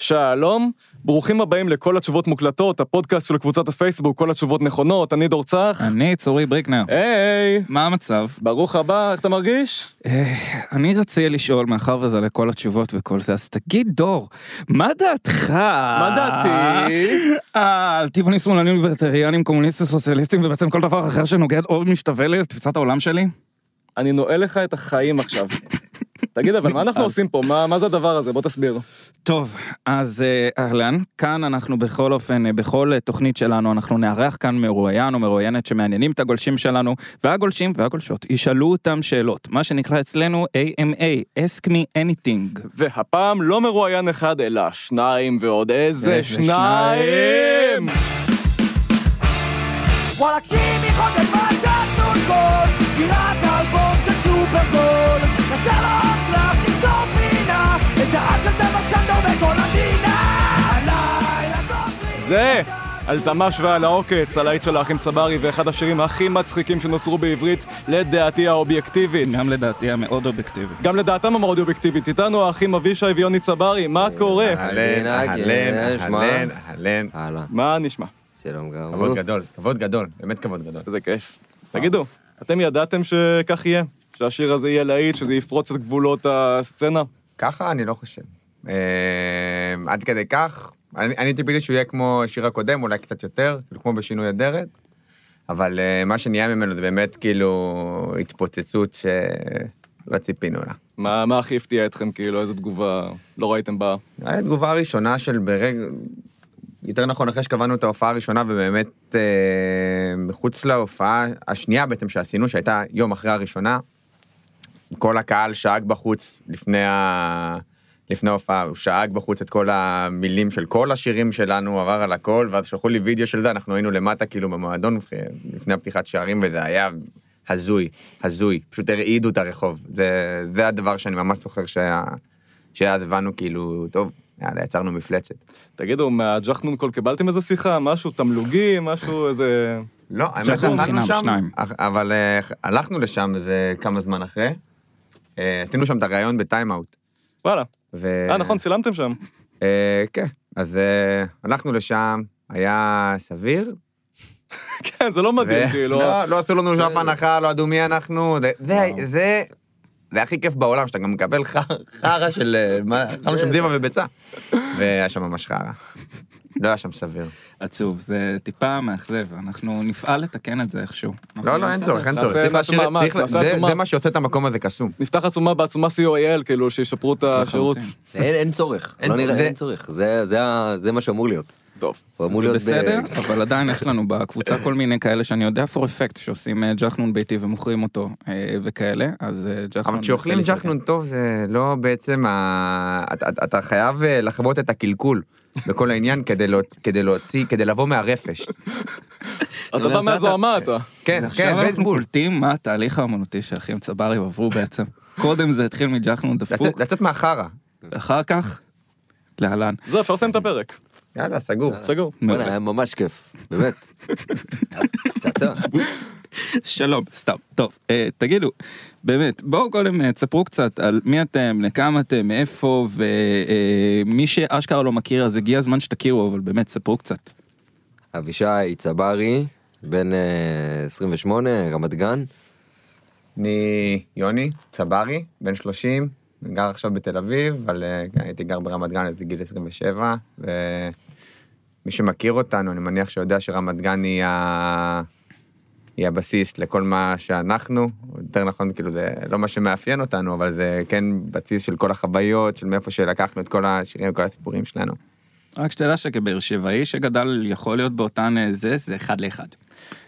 שלום, ברוכים הבאים לכל התשובות מוקלטות, הפודקאסט של קבוצת הפייסבוק, כל התשובות נכונות, אני דור צח. אני צורי בריקנר. היי, מה המצב? ברוך הבא, איך אתה מרגיש? אה, אני רציתי לשאול, מאחר וזה לכל התשובות וכל זה, אז תגיד, דור, מה דעתך? מה דעתי? אה, על טבעונים שמאלנים ליברטריאנים, קומוניסטים, סוציאליסטים, ובעצם כל דבר אחר שנוגד או משתווה לתפיסת העולם שלי? אני נועל לך את החיים עכשיו. תגיד, אבל מה אנחנו עושים פה? מה- מה זה הדבר הזה? בוא תסביר. טוב, אז אה, אהלן, כאן אנחנו בכל אופן, אה, בכל אה, תוכנית שלנו, אנחנו נארח כאן מרואיין או מרואיינת שמעניינים את הגולשים שלנו, והגולשים והגולשות ישאלו אותם שאלות, מה שנקרא אצלנו AMA, Ask me anything. והפעם לא מרואיין אחד, אלא שניים ועוד איזה איזה שניים! שניים! וואלה תקשיבי חודש מה תעשו גול סגירת האלבום זה סופר גול נתן לו עוד קלף לסגור פינה את האט של דבר סנדו בכל המדינה הלילה טוב לי זה! על תמ"ש ועל העוקץ, הלהיט של האחים צברי ואחד השירים הכי מצחיקים שנוצרו בעברית, לדעתי האובייקטיבית. גם לדעתי המאוד אובייקטיבית. גם לדעתם המאוד אובייקטיבית, איתנו האחים אבישי ויוני צברי, מה קורה? אה. אהלן, אהלן, אהלן, שמע. אהלן, אהלן. הלאה, מה נשמע? שלום גמור. כבוד גדול, כבוד גדול, באמת כבוד גדול. איזה כיף. תגידו, אתם ידעתם שכך יהיה? שהשיר הזה יהיה להיט, שזה יפרוץ את גבולות הסצנה? ככה אני לא חושב. אה, עד כדי כך, אני אני ציפיתי שהוא יהיה כמו השיר הקודם, אולי קצת יותר, כאילו כמו בשינוי אדרת, אבל אה, מה שנהיה ממנו זה באמת כאילו התפוצצות שלא ציפינו לה. מה מה הכי הפתיע אתכם, כאילו, איזה תגובה לא ראיתם בה? הייתה תגובה הראשונה של ברגע... יותר נכון, אחרי שקבענו את ההופעה הראשונה, ובאמת אה, מחוץ להופעה השנייה בעצם שעשינו, שהייתה יום אחרי הראשונה, כל הקהל שאג בחוץ לפני, ה... לפני ההופעה, הוא שאג בחוץ את כל המילים של כל השירים שלנו, עבר על הכל, ואז שלחו לי וידאו של זה, אנחנו היינו למטה כאילו במועדון לפני הפתיחת שערים, וזה היה הזוי, הזוי, פשוט הרעידו את הרחוב. זה, זה הדבר שאני ממש זוכר שהיה, שאז הבנו כאילו, טוב, יאללה, יצרנו מפלצת. תגידו, מהג'חנון קול קיבלתם איזה שיחה? משהו, תמלוגים, משהו, איזה... לא, האמת, שחרור אכלנו חינם, שם, שניים. אך- אבל אה, הלכנו לשם איזה כמה זמן אחרי, אה, עשינו שם את הראיון בטיימאוט. וואלה. ו... אה, נכון, צילמתם שם. אה, כן, אז אה, הלכנו לשם, היה סביר. כן, זה לא מדהים, ו- כאילו. לא, לא עשו לנו שום הנחה, לא ידעו מי אנחנו, זה- זה, זה, זה הכי כיף בעולם, שאתה גם מקבל חר- חרא של, אה, מה, חרא של דימה וביצה. והיה שם ממש חרא. לא היה שם סביר. עצוב, זה טיפה מאכזב, אנחנו נפעל לתקן את זה איכשהו. אנחנו לא, לא, אין נמצא צורך, אין נעשה- צורך. צריך נעשה להשאיר את- מאמץ, צריך לה- נעשה זה- עצומה. זה מה שעושה את המקום הזה קסום. נפתח עצומה בעצומה co.il, כאילו, שישפרו את השירות. לחלוטין. אין אין צורך, אין לא צורך, נראה זה- אין צורך, זה- זה ה- זה מה שאמור להיות. טוב. הוא אמור זה להיות ב- בסדר, אבל עדיין יש לנו בקבוצה כל מיני כאלה שאני יודע for effect שעושים אה, ג'חנון ביתי ומוכרים אותו אה, וכאלה, אז אה, ג'חנון... אבל כשאוכלים מנסה להתארגן. ג'חנון טוב זה לא בעצם, ה- אתה- אתה- אתה חייב אה, לחוות את הקלקול בכל העניין כדי להוצ- כדי להוציא, כדי לבוא מהרפש. אתה בא זה מהזוהמה, אתה. כן, כן, עכשיו אנחנו בול. קולטים מה התהליך האמנותי שהאחים צברי עברו בעצם. קודם זה התחיל מג'חנון דפוק, לצאת מהחרא. אחר כך, להלן. זהו, אפשר לסיים את הפרק. יאללה, סגור. סגור. וואלה, היה ממש כיף, באמת. פצצה. שלום, סתם. טוב, אה, תגידו, באמת, בואו קודם אה, תספרו קצת על מי אתם, לכמה אתם, מאיפה, ומי שאשכרה לא מכיר, אז הגיע הזמן שתכירו, אבל באמת, ספרו קצת. אבישי צברי, בן אה, 28, רמת גן. אני יוני צברי, בן 30, גר עכשיו בתל אביב, אבל אה, הייתי גר ברמת גן עד גיל 27, ומי שמכיר אותנו, אני מניח שיודע שרמת גן היא, ה... היא הבסיס לכל מה שאנחנו, יותר נכון, כאילו זה לא מה שמאפיין אותנו, אבל זה כן בסיס של כל החוויות, של מאיפה שלקחנו את כל השירים, כל הסיפורים שלנו. רק שתדע שכבאר שבעי שגדל יכול להיות באותן אה, זה, זה אחד לאחד.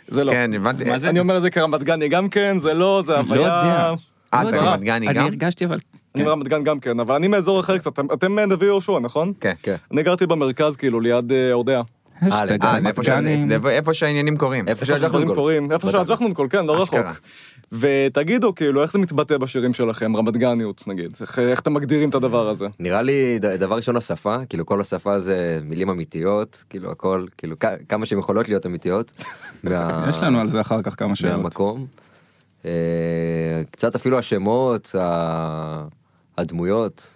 זה לא. כן, הבנתי. מה זה? אני אומר את זה כרמת גני גם כן, זה לא, זה הוויה... יודע. אה, לא זה יודע. רמת גני אני גם? הרגשתי אבל... אני כן. מרמת גן גם כן, אבל אני מאזור אחר קצת, אתם- אתם נווה יהושע, נכון? כן. כן. אני גרתי במרכז, כאילו, ליד אה, אורדע. השתגע, אה, זה רמת איפה גנים. שה- זה איפה שהעניינים קורים. איפה איפה שהג'חנון שהדברים גול. קורים, איפה בטח. שהג'חנון קול, כן, לא רחוק. אשכרה. ותגידו, כאילו, איך זה מתבטא בשירים שלכם, רמת גניות, נגיד? איך- איך אתם מגדירים את הדבר הזה? נראה לי ד- דבר ראשון השפה כאילו כל השפה זה מילים אמיתיות כאילו הכל כאילו כ- כמה שהן יכולות להיות אמיתיות. מה- יש לנו על זה אחר כך כמה שאלות. מהמקום. אה, קצת אפילו השמות ה- הדמויות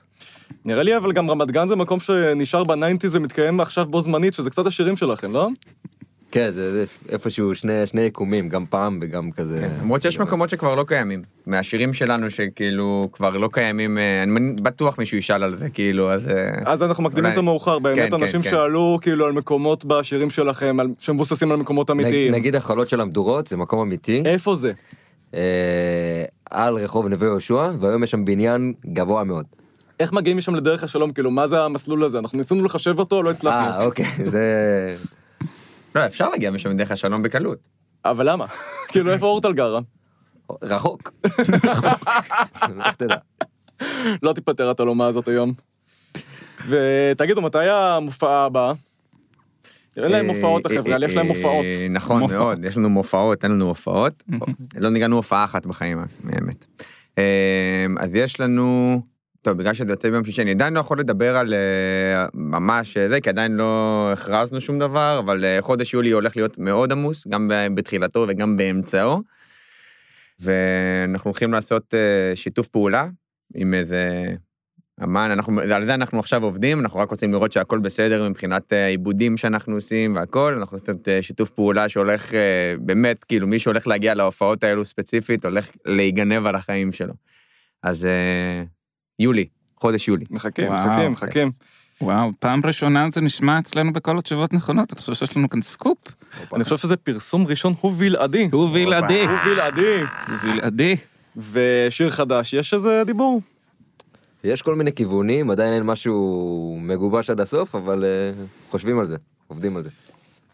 נראה לי אבל גם רמת גן זה מקום שנשאר בניינטיז ומתקיים עכשיו בו זמנית, שזה קצת השירים שלכם, לא? כן, זה זה איפשהו שני שני יקומים, גם פעם וגם כן, כזה. למרות שיש מקומות שכבר לא קיימים. מהשירים שלנו שכאילו כבר לא קיימים, אה, אני בטוח מישהו ישאל על זה, כאילו, אז... אה, אז אנחנו מקדימים את אולי- המאוחר, באמת כן, כן, אנשים כן. שאלו כאילו על מקומות בשירים שלכם, על- שמבוססים על מקומות אמיתיים. כן. נג- נגיד החולות של המדורות, זה מקום אמיתי, איפה זה? אה, על רחוב נווה יהושע, והיום יש שם בניין גבוה מאוד. איך מגיעים משם לדרך השלום? כאילו, מה זה המסלול הזה? אנחנו ניסינו לחשב אותו, לא הצלחנו. אה, אוקיי, זה... לא, אפשר להגיע משם דרך השלום בקלות. אבל למה? כאילו, איפה אורטל גרה? רחוק. איך תדע. לא תיפתר התעלומה הזאת היום. ותגידו, מתי המופעה הבאה? אין להם אה, הופעות אה, לחבר'ה, יש להם אה, הופעות. אה, נכון מופעות. מאוד, יש לנו מופעות, אין לנו הופעות. לא ניגענו הופעה אחת בחיים, האמת. אה, אז יש לנו... טוב, בגלל שזה יוצא ביום שישי, אני עדיין לא יכול לדבר על אה, ממש אה, זה, כי עדיין לא הכרזנו שום דבר, אבל אה, חודש יולי הולך להיות מאוד עמוס, גם ב- בתחילתו וגם באמצעו. ואנחנו הולכים לעשות אה, שיתוף פעולה עם איזה אמן, אנחנו, על זה אנחנו עכשיו עובדים, אנחנו רק רוצים לראות שהכל בסדר מבחינת אה, עיבודים שאנחנו עושים והכל, אנחנו עושים אה, שיתוף פעולה שהולך, אה, באמת, כאילו מי שהולך להגיע להופעות האלו ספציפית, הולך להיגנב על החיים שלו. אז אה, יולי, חודש יולי. מחכים, וואו, מחכים, מחכים. וואו, פעם ראשונה זה נשמע אצלנו בכל התשובות נכונות, אני חושב שיש לנו כאן סקופ. אני חושב שזה פרסום ראשון, הוא בלעדי. הוא בלעדי. הוא בלעדי. הוא בלעדי. ושיר חדש, יש איזה דיבור? יש כל מיני כיוונים, עדיין אין משהו מגובש עד הסוף, אבל אה, חושבים על זה, עובדים על זה.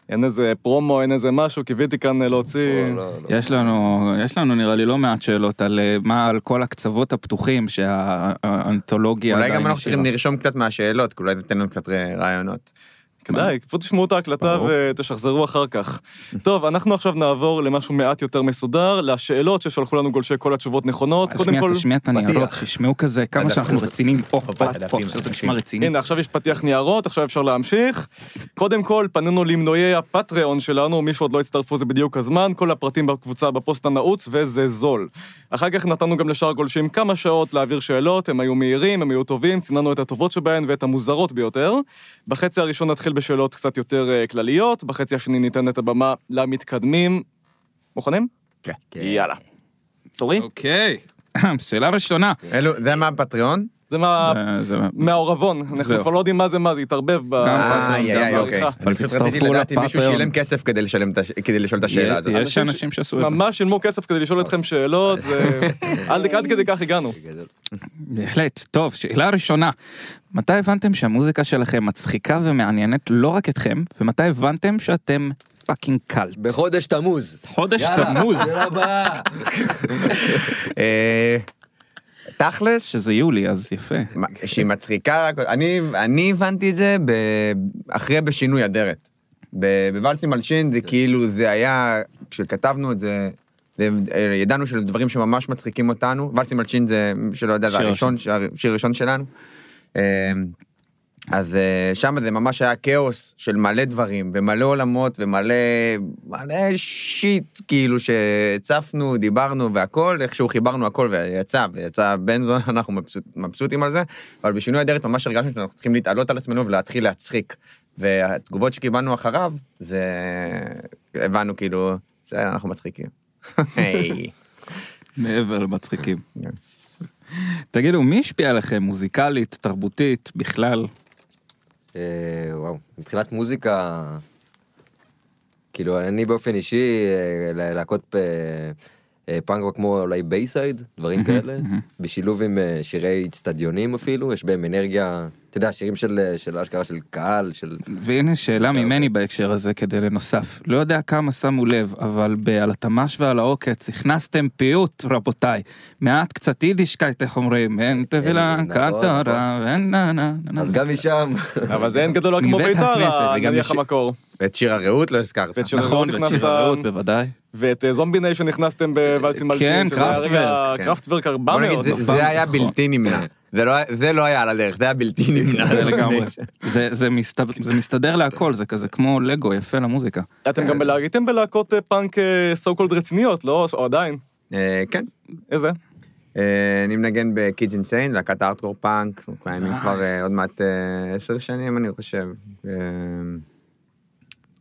אין איזה פרומו, אין איזה משהו, קיוויתי כאן אה, להוציא... לא, לא, לא. יש לנו, יש לנו נראה לי לא מעט שאלות על אה, מה, על כל הקצוות הפתוחים אה, שהאנתולוגיה אולי גם עדיין אנחנו צריכים השאירה. לרשום קצת מהשאלות, כי אולי תיתן לנו קצת ר- רעיונות. כדאי, פשוט תשמעו את ההקלטה ברור. ותשחזרו אחר כך. טוב, אנחנו עכשיו נעבור למשהו מעט יותר מסודר, לשאלות ששלחו לנו גולשי כל התשובות נכונות. קודם תשמיע, כל, תשמיע את הניירות, פתיח. תשמעו כזה כמה שאנחנו רציניים, פה, פה, פה, עכשיו זה נשמע רציני. הנה, עכשיו יש פתיח ניירות, עכשיו אפשר להמשיך. קודם כל, פנינו למנויי הפטריון שלנו, מי שעוד לא הצטרפו זה בדיוק הזמן, כל הפרטים בקבוצה בפוסט הנעוץ, וזה זול. אחר כך נתנו גם לשאר הגולשים כמה שעות להעביר שאלות, הם היו מהירים, הם היו טובים, ציננו את הטובות שבהן ואת המוזרות ביותר. בחצי הראשון נתחיל בשאלות קצת יותר אה, כלליות, בחצי השני ניתן את הבמה למתקדמים. מוכנים? כן. יאללה. סורי? אוקיי. שאלה ראשונה. אלו, זה מה הפטריון? זה מה... אה, זה- מהעורבון, אנחנו זהו. כבר לא יודעים מה זה מה, זה התערבב ב... גם אה, פטריון, איי, גם לא. איי, אוקיי. בעריכה. אני פשוט רציתי תצטרפו לדעת אם מישהו לפטריון. שילם כסף כדי לשלם את הש- כדי לשאול את השאלה הזאת. יש אנשים ש- אנשים שעשו את זה. ממש שילמו כסף כדי לשאול אתכם שאלות, זה- עד עד כדי כך הגענו. גדול. בהחלט. טוב, שאלה ראשונה. מתי הבנתם שהמוזיקה שלכם מצחיקה ומעניינת לא רק אתכם, ומתי הבנתם שאתם פאקינג קאלט? בחודש תמוז. חודש יאללה, תמוז, שאלה הבאה. אה, תכלס, שזה יולי, אז יפה. מה, שהיא מצחיקה, רק- אני, אני הבנתי את זה ב... אחרי בשינוי אדרת. ב- בוואלסים על שין זה כאילו, זה היה, כשכתבנו את זה, זה, אה, ידענו של דברים שממש מצחיקים אותנו, וואלסים על שין זה, מי שלא יודע, זה שיר הראשון, שיר ראשון שלנו. אה, אז שם זה ממש היה כאוס של מלא דברים, ומלא עולמות, ומלא מלא שיט, כאילו שהצפנו, דיברנו והכל, איכשהו חיברנו הכל ויצא, ויצא בן זון, אנחנו מבסוט, מבסוטים על זה, אבל בשינוי אדרת ממש הרגשנו שאנחנו צריכים להתעלות על עצמנו ולהתחיל להצחיק. והתגובות שקיבלנו אחריו, זה... הבנו כאילו, בסדר, אנחנו מצחיקים. היי. מעבר למצחיקים. כן. תגידו, מי השפיע עליכם מוזיקלית, תרבותית, בכלל? אה, וואו, מבחינת מוזיקה, כאילו אני באופן אישי, אה, ל- להקות אה, אה, פאנק רוק כמו אולי בייסייד, דברים כאלה, בשילוב עם אה, שירי אצטדיונים אפילו, יש בהם אנרגיה, אתה יודע, שירים של אה, של אשכרה של קהל, של... והנה שאלה ממני בהקשר הזה כדי לנוסף. לא יודע כמה שמו לב, אבל ב"על התמ"ש ועל העוקץ" הכנסתם פיוט, רבותיי. מעט קצת יידישקייט, איך אומרים? אין תבילה, נכון, קטרה, ואין נה נה נה. אז גם משם, אבל זה אין גדול רק כמו מבית הכנסת, בית"ר, וגם נניח יש- המקור. ואת שיר הרעות לא הזכרת. ואת שיר נכון, הרעות ואת הכנסת, שיריות בוודאי. ואת אה, זומבי ניישן נכנסתם בוואלסים על כן, שין, שזה היה קראפטוורק, רגע אה, כן. קראפטוורק בוא 400. נגיד, זה- נכון, זה היה נכון. בלתי נמנע. זה לא היה- זה לא היה על הדרך, זה היה בלתי נמנע. זה לגמרי. זה- זה מסת- זה מסתדר להכל, זה כזה כמו לגו, יפה למוזיקה. אתם גם בלה- אה, הייתם בלהקות אה, פאנק סו קולד רציניות, לא? או עדיין. אה, כן. איזה? אה, אני מנגן בקידס אינסיין, להקת הארטקור פאנק, אנחנו קיימים Nice. כבר אה, עוד מעט אה, עשר שנים, אני חושב. אה,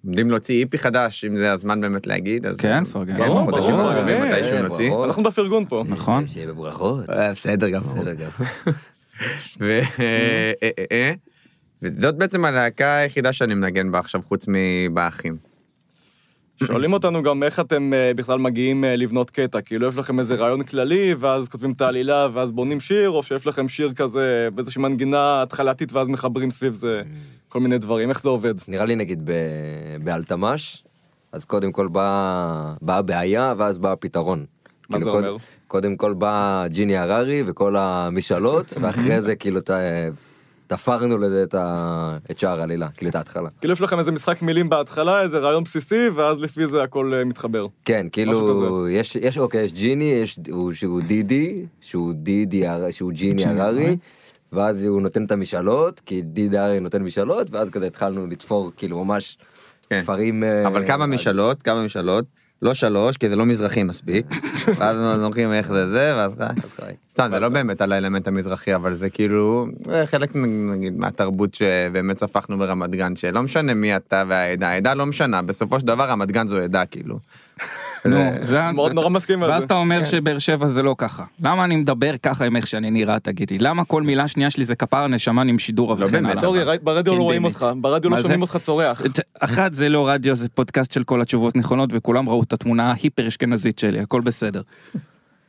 עומדים להוציא איפי חדש, אם זה הזמן באמת להגיד, אז... כן, פרגן. כן, ברור, בחודשים ברור, הקרובים כן, מתישהו נוציא. ברור. אנחנו בפרגון פה. נכון? שיהיה בברכות. אה, בסדר גמור. בסדר גם. ו- אה, אה, אה, אה. וזאת בעצם הלהקה היחידה שאני מנגן בה עכשיו, חוץ מבאחים. שואלים אותנו גם איך אתם אה, בכלל מגיעים אה, לבנות קטע, כאילו יש לכם איזה רעיון כללי, ואז כותבים את העלילה, ואז בונים שיר, או שיש לכם שיר כזה באיזושהי מנגינה התחלתית, ואז מחברים סביב זה כל מיני דברים, איך זה עובד? נראה לי נגיד ב- באלתמ"ש, אז קודם כל באה בא הבעיה ואז בא הפתרון. מה זה כאילו, קוד- אומר? קודם כל בא ג'יני הררי וכל המשאלות, ואחרי זה כאילו ת- תפרנו לזה את, ה... את שער העלילה, כאילו את ההתחלה. כאילו יש לכם איזה משחק מילים בהתחלה, איזה רעיון בסיסי, ואז לפי זה הכל אה, מתחבר. כן, משהו כאילו, יש, יש, אוקיי, יש ג'יני, יש, הוא, שהוא דידי, שהוא דידי, הר- שהוא ג'יני הררי, ואז הוא נותן את המשאלות, כי דידי הררי נותן משאלות, ואז כזה התחלנו לתפור כאילו ממש כן. תפרים... אה, אבל כמה עד- משאלות, כמה משאלות, לא שלוש, כי זה לא מזרחי מספיק, ואז אנחנו הולכים איך זה זה, ואז אה, אז חי. סתם, זה לא באמת על האלמנט המזרחי, אבל זה כאילו אה, חלק נגיד מהתרבות שבאמת ספחנו ברמת גן, שלא משנה מי אתה והעדה, העדה לא משנה, בסופו של דבר רמת גן זו עדה, כאילו. נו, זה... אה, מאוד נורא מסכים על ואז זה. אתה אומר שבאר שבע זה לא ככה. למה אני מדבר ככה עם איך שאני נראה, תגיד לי? למה כל מילה שנייה שלי זה כפר נשמה עם שידור לא וכן באמת, הלאה? סורי, ר- ברדיו כן, לא רואים באמת. אותך, ברדיו מה לא זה? אה, שומעים אותך צורח. את- אחת, זה לא רדיו, זה פודקאסט של כל התשובות נכונות, וכולם ראו את התמונה ההיפר אשכנזית שלי, הכל בסדר.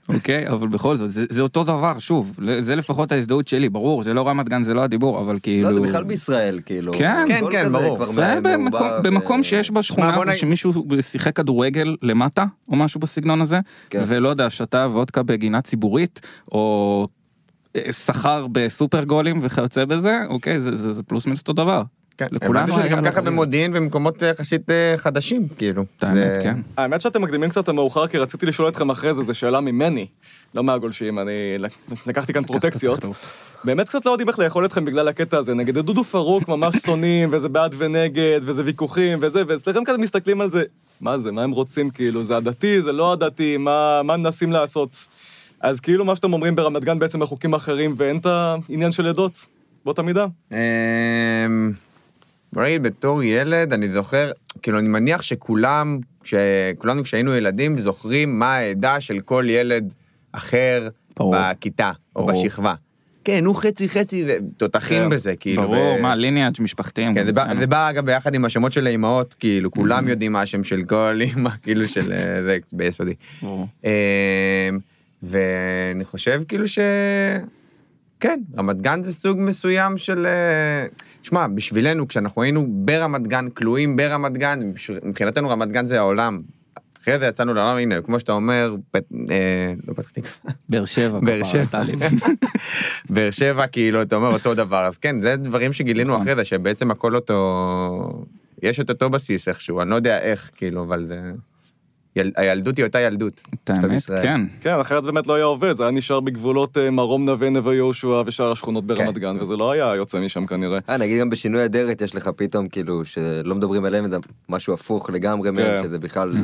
אוקיי, אבל בכל זאת, זה, זה אותו דבר, שוב, ל- זה לפחות ההזדהות שלי, ברור, זה לא רמת גן, זה לא הדיבור, אבל כאילו... לא, זה בכלל בישראל, כאילו. כן, כן, הכל כן, כזה ברור. כבר זה מעורבב, במקום, ו- במקום שיש בו שכונה מה, בוא נגיד- ושמישהו שיחק כדורגל למטה או משהו בסגנון הזה כן. ולא יודע שתה וודקה בגינה ציבורית או אה, שכר בסופר גולים וכיוצא בזה אוקיי זה, זה, זה פלוס מינוס אותו דבר. כן, לכולנו הבנתי שזה היה גם ככה מחזיר. במודיעין ובמקומות יחסית אה, חדשים, כאילו. את האמת זה- כן. האמת שאתם מקדימים קצת המאוחר, כי רציתי לשאול אתכם אחרי זה, זו שאלה ממני, לא מהגולשים, אני לק- לקחתי כאן פרוטקציות. אחריות. באמת קצת לא יודעים איך לאכול אתכם בגלל הקטע הזה, נגיד את דודו פרוק ממש שונאים, וזה בעד ונגד, וזה ויכוחים, וזה, ואצלכם כזה מסתכלים על זה, מה זה, מה הם רוצים, כאילו, זה עדתי, זה לא עדתי, מה, מה מנסים לעשות? אז כאילו מה שאתם אומרים ברמת גן בעצם בחוקים אחרים, ואין את העניין של עדות, באותה מידה. אמ, בוא נגיד, בתור ילד, אני זוכר, כאילו, אני מניח שכולם, שכולנו כשהיינו ילדים, זוכרים מה העדה של כל ילד אחר ברור. בכיתה או ברור. בשכבה. כן, הוא חצי חצי, זה- תותחים כן, בזה, כאילו. ברור ו- מה ליניאג' משפחתיים. כן, זה בא- בסדר. Mm-hmm. זה בא אגב ביחד עם השמות של האימהות, כאילו, כולם יודעים מה השם של כל אימא, כאילו, של אה, זה ביסודי. ברור. אמ, ואני חושב כאילו ש... כן, רמת גן זה סוג מסוים של... אה, שמע, בשבילנו, כשאנחנו היינו ברמת גן, כלואים ברמת גן, בשב- מבחינתנו רמת גן זה העולם. אחרי זה יצאנו לעולם, הנה, כמו שאתה אומר, בית- אה, לא פתח תקווה, באר שבע. באר כפרה, שבע. טלי. באר שבע, כאילו, אתה אומר אותו דבר, אז כן, זה דברים שגילינו נכון. אחרי זה, שבעצם הכל אותו... יש את אותו בסיס איכשהו, אני לא יודע איך, כאילו, אבל זה... יל... הילדות היא אותה ילדות. את האמת בישראל. כן. כן, אחרת באמת לא היה עובד, זה היה נשאר בגבולות אה, מרום נווה, נווה יהושע ושאר השכונות ברמת כן. גן, וזה לא היה יוצא משם כנראה. אה, נגיד גם בשינוי אדרת יש לך פתאום כאילו שלא מדברים עליהם, זה משהו הפוך לגמרי כן. מהם, שזה בכלל...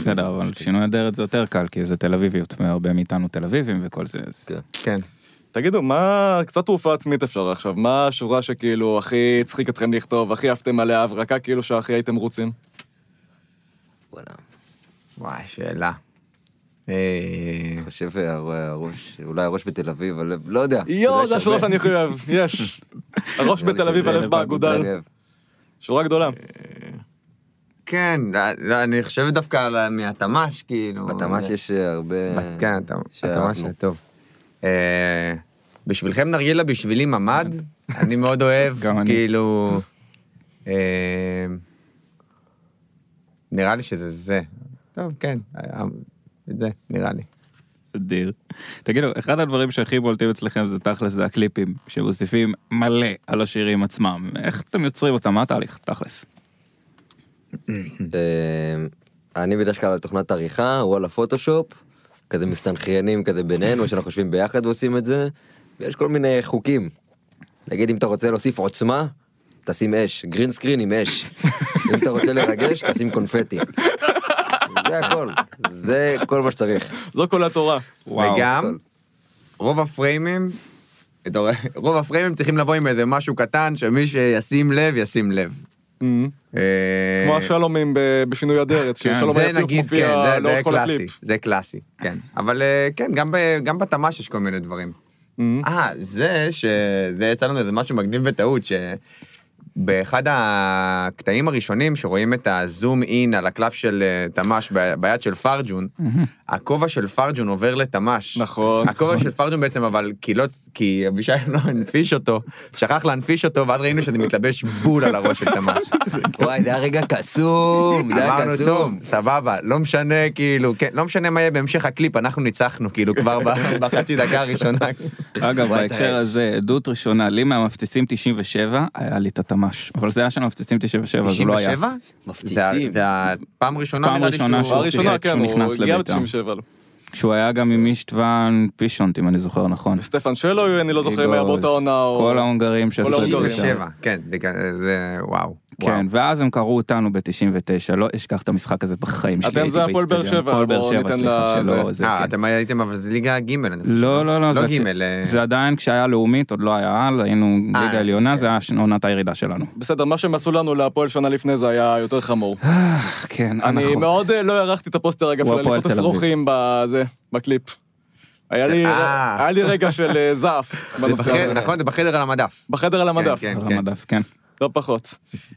בסדר אבל שינוי אדרת זה יותר קל כי זה תל אביביות והרבה מאיתנו תל אביבים וכל זה. אז- כן. תגידו, מה... קצת תעופה עצמית אפשר עכשיו, מה השורה שכאילו הכי הצחיק אתכם לכתוב, הכי עפתם עליה, הברקה כאילו שהכי הייתם רוצים? וואלה, וואי, שאלה. אה, אני חושב שהראש, אולי הראש בתל אביב, אבל לא יודע. יואו, זו אולי שווה. לא השורה שאני הכי אוהב, יש. הראש נראה לי בתל אביב, שזה הלב באגודל. אני אוהב. שורה גדולה. כן, לא- לא, אני חושב דווקא על ה- מהתמ"ש, כאילו. בתמ"ש יש אה, הרבה... בת- כן, הת- שאהבנו. התמ"ש זה טוב. אה, בשבילכם נרגילה, בשבילי ממ"ד, אני מאוד אוהב, גם אני. כאילו... אה, נראה לי שזה זה. טוב, כן, אה, את זה, נראה לי. אדיר. תגידו, אחד הדברים שהכי בולטים אצלכם זה תכלס זה הקליפים שמוסיפים מלא על השירים עצמם. איך אתם יוצרים אותם? מה התהליך? תכלס. אה, אני בדרך כלל על תוכנת עריכה, הוא על הפוטושופ, כזה מסתנכרנים כזה בינינו, שאנחנו יושבים ביחד ועושים את זה, ויש כל מיני חוקים. נגיד אם אתה רוצה להוסיף עוצמה, תשים אש, גרין סקרין עם אש. אם אתה רוצה לרגש, תשים קונפטי. זה הכל. זה כל מה שצריך. זו כל התורה. אה, וגם, רוב הפריימים, אתה רואה, רוב הפריימים צריכים לבוא עם איזה משהו קטן, שמי שישים לב, ישים לב. אמ, אה, כמו השלומים ב- בשינוי אדרת, כן, ששלום זה היפוך נגיד, כן, מופיע זה- זה לאורך כל קלאסי, הקליפ. זה קלאסי, כן. אבל אה, כן, גם ב- גם בתמ"ש יש כל מיני דברים. אמ, אה, זה שזה יצא לנו איזה משהו מגניב בטעות, שבאחד הקטעים הראשונים שרואים את הזום אין על הקלף של אה, תמ"ש ב- ביד של פרג'ון, הכובע של פרג'ון עובר לתמ"ש. Mm-hmm. נכון. הכובע של פרג'ון בעצם, אבל כי לא, כי אבישי לא הנפיש אותו, שכח להנפיש אותו, ואז ראינו שזה מתלבש בול על הראש של תמ"ש. וואי, זה היה רגע קסום, זה היה אמרנו, טוב, קסום. סבבה, לא משנה, כאילו, כן, לא משנה מה יהיה בהמשך הקליפ, אנחנו ניצחנו, כאילו, כבר ב- בחצי דקה הראשונה. אגב, וואי, בהקשר צריך- הזה, עדות ראשונה, לי מהמפציצים 97, היה לי את התמ"ש. אבל זה היה של המפציצים 97, זה לא היה... 97? מפציצים. זה הפעם הראשונה, פעם נראה לי, ראשונה שהוא... שהוא הראשונה, שיחק כן, כשהוא הוא נכנס הגיע לבית"ר. ב-97. שהוא היה גם עם אישטוון פישונט, אם אני זוכר נכון. סטפן שלו, אני לא זוכר אם היה איגוז, באותה עונה או... כאילו, כל ההונגרים ששחקו ההונגרים. שם. 97, כן, זה כ- זה וואו. וואו. כן, ואז הם קראו אותנו ב-99, לא אשכח את המשחק הזה בחיים שלי. אתם הייתי זה הפועל באר באיצטדיון. שבע, הפועל באר בואו שבע, ניתן סליחה, לה- שלא, זה. זה אה, כן. אתם הייתם, אבל זה ליגה ג' אני חושב. לא, לא, לא, לא זה- ג', אה, זה עדיין כשהיה לאומית, עוד לא היה על, היינו אה, ליגה עליונה, זה היה ש- עונת הירידה שלנו. בסדר, מה שהם עשו לנו להפועל שנה לפני זה היה יותר חמור. אה, כן, אני נכון. הנחות. מאוד אה, לא הערכתי את הפוסטר, אגב, הוא של הפועל אליפות תל אביב. השרוכים בזה, בקליפ. היה לי- אה. היה לי רגע של אה, זעף זה בנושא בחדר, הזה. נכון, זה בחדר על המדף. בחדר על המדף, כן, על המדף, כן. לא פחות.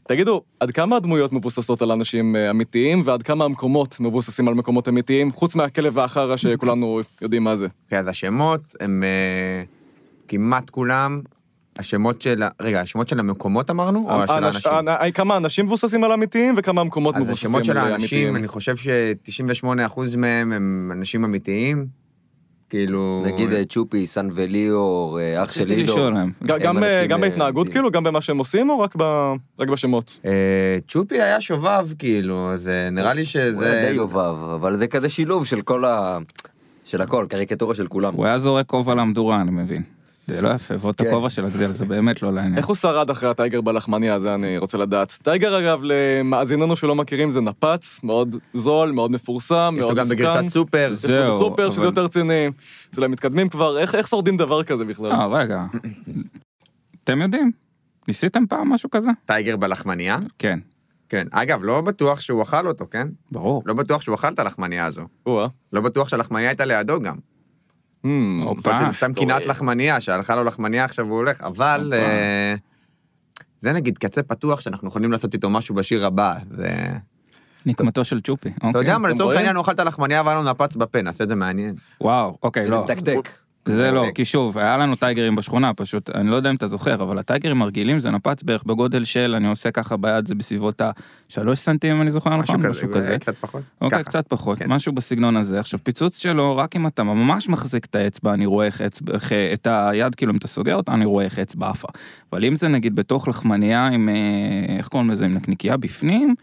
תגידו, עד כמה הדמויות מבוססות על אנשים אה, אמיתיים, ועד כמה המקומות מבוססים על מקומות אמיתיים, חוץ מהכלב והחרא שכולנו יודעים מה זה. אוקיי, אז השמות הם אה, כמעט כולם, השמות של... ה- רגע, השמות של המקומות אמרנו? או של האנש- האנשים? האנ- אה, כמה אנשים מבוססים על אמיתיים, וכמה המקומות אז מבוססים השמות על של האנשים, אמיתיים. אני חושב ש-98% מהם הם אנשים אמיתיים. כאילו... נגיד אה, צ'ופי, סן וליאור, אה, אח של רציתי לידור. לשאול להם. ג- גם, הם אה, אנשים, גם אה, בהתנהגות, אמיתיים. כאילו, גם במה שהם עושים, או רק ב- רק בשמות? אה, צ'ופי היה שובב, כאילו, זה נראה לי הוא היה שזה... די יובב, אבל זה כזה שילוב של כל ה... של הכל, קריקטורה של כולם. הוא היה זורק כובע למדורה, אני מבין. זה לא יפה, ועוד את כן. הכובע של הגדל, זה באמת לא לעניין. איך הוא שרד אחרי הטייגר בלחמניה הזה, אני רוצה לדעת. טייגר, אגב, למאזיננו שלא מכירים, זה נפץ, מאוד זול, מאוד מפורסם, יש לו מאוד גם מסוכן. בגרסת סופר. יש לו זהו, בסופר, שזה אבל- יותר רציני. אצל המתקדמים כבר, איך איך שורדים דבר כזה בכלל? אה, רגע. אתם יודעים? ניסיתם פעם משהו כזה? טייגר בלחמניה. כן, כן. אגב, לא בטוח שהוא אכל אותו, כן? ברור. לא בטוח שהוא אכל את הלחמניה הזו. או-אה. לא בטוח שהלחמניה הייתה לידו גם. Hmm, הופה. יכול להיות אה, שהוא סתם קינאת לחמניה, שהלכה לו לחמניה עכשיו הוא הולך, אבל... הופה. אה, זה נגיד קצה פתוח שאנחנו יכולים לעשות איתו משהו בשיר הבא. זה- נקמתו של צ'ופי. אוקיי. אתה יודע מה, אתם לצורך רואים? העניין הוא אכל את הלחמניה והיה לו לא נפץ בפה, נעשה את זה מעניין. וואו, אוקיי, זה לא. מתקתק. זה לא, כי שוב, היה לנו טייגרים בשכונה, פשוט, אני לא יודע אם אתה זוכר, אבל הטייגרים הרגילים זה נפץ בערך בגודל של, אני עושה ככה ביד, זה בסביבות ה-3 סנטים, אם אני זוכר נכון, משהו כזה. אה, קצת פחות. אוקיי, ככה. קצת פחות, כן. משהו בסגנון הזה. עכשיו, פיצוץ שלו, רק אם אתה ממש מחזיק את האצבע, אני רואה איך אצבע, איך, אה, את היד, כאילו, אם אתה סוגר אותה, אני רואה איך אצבע עפה. אבל אם זה נגיד בתוך לחמנייה עם, אה, איך קוראים לזה, עם נקניקייה בפנים,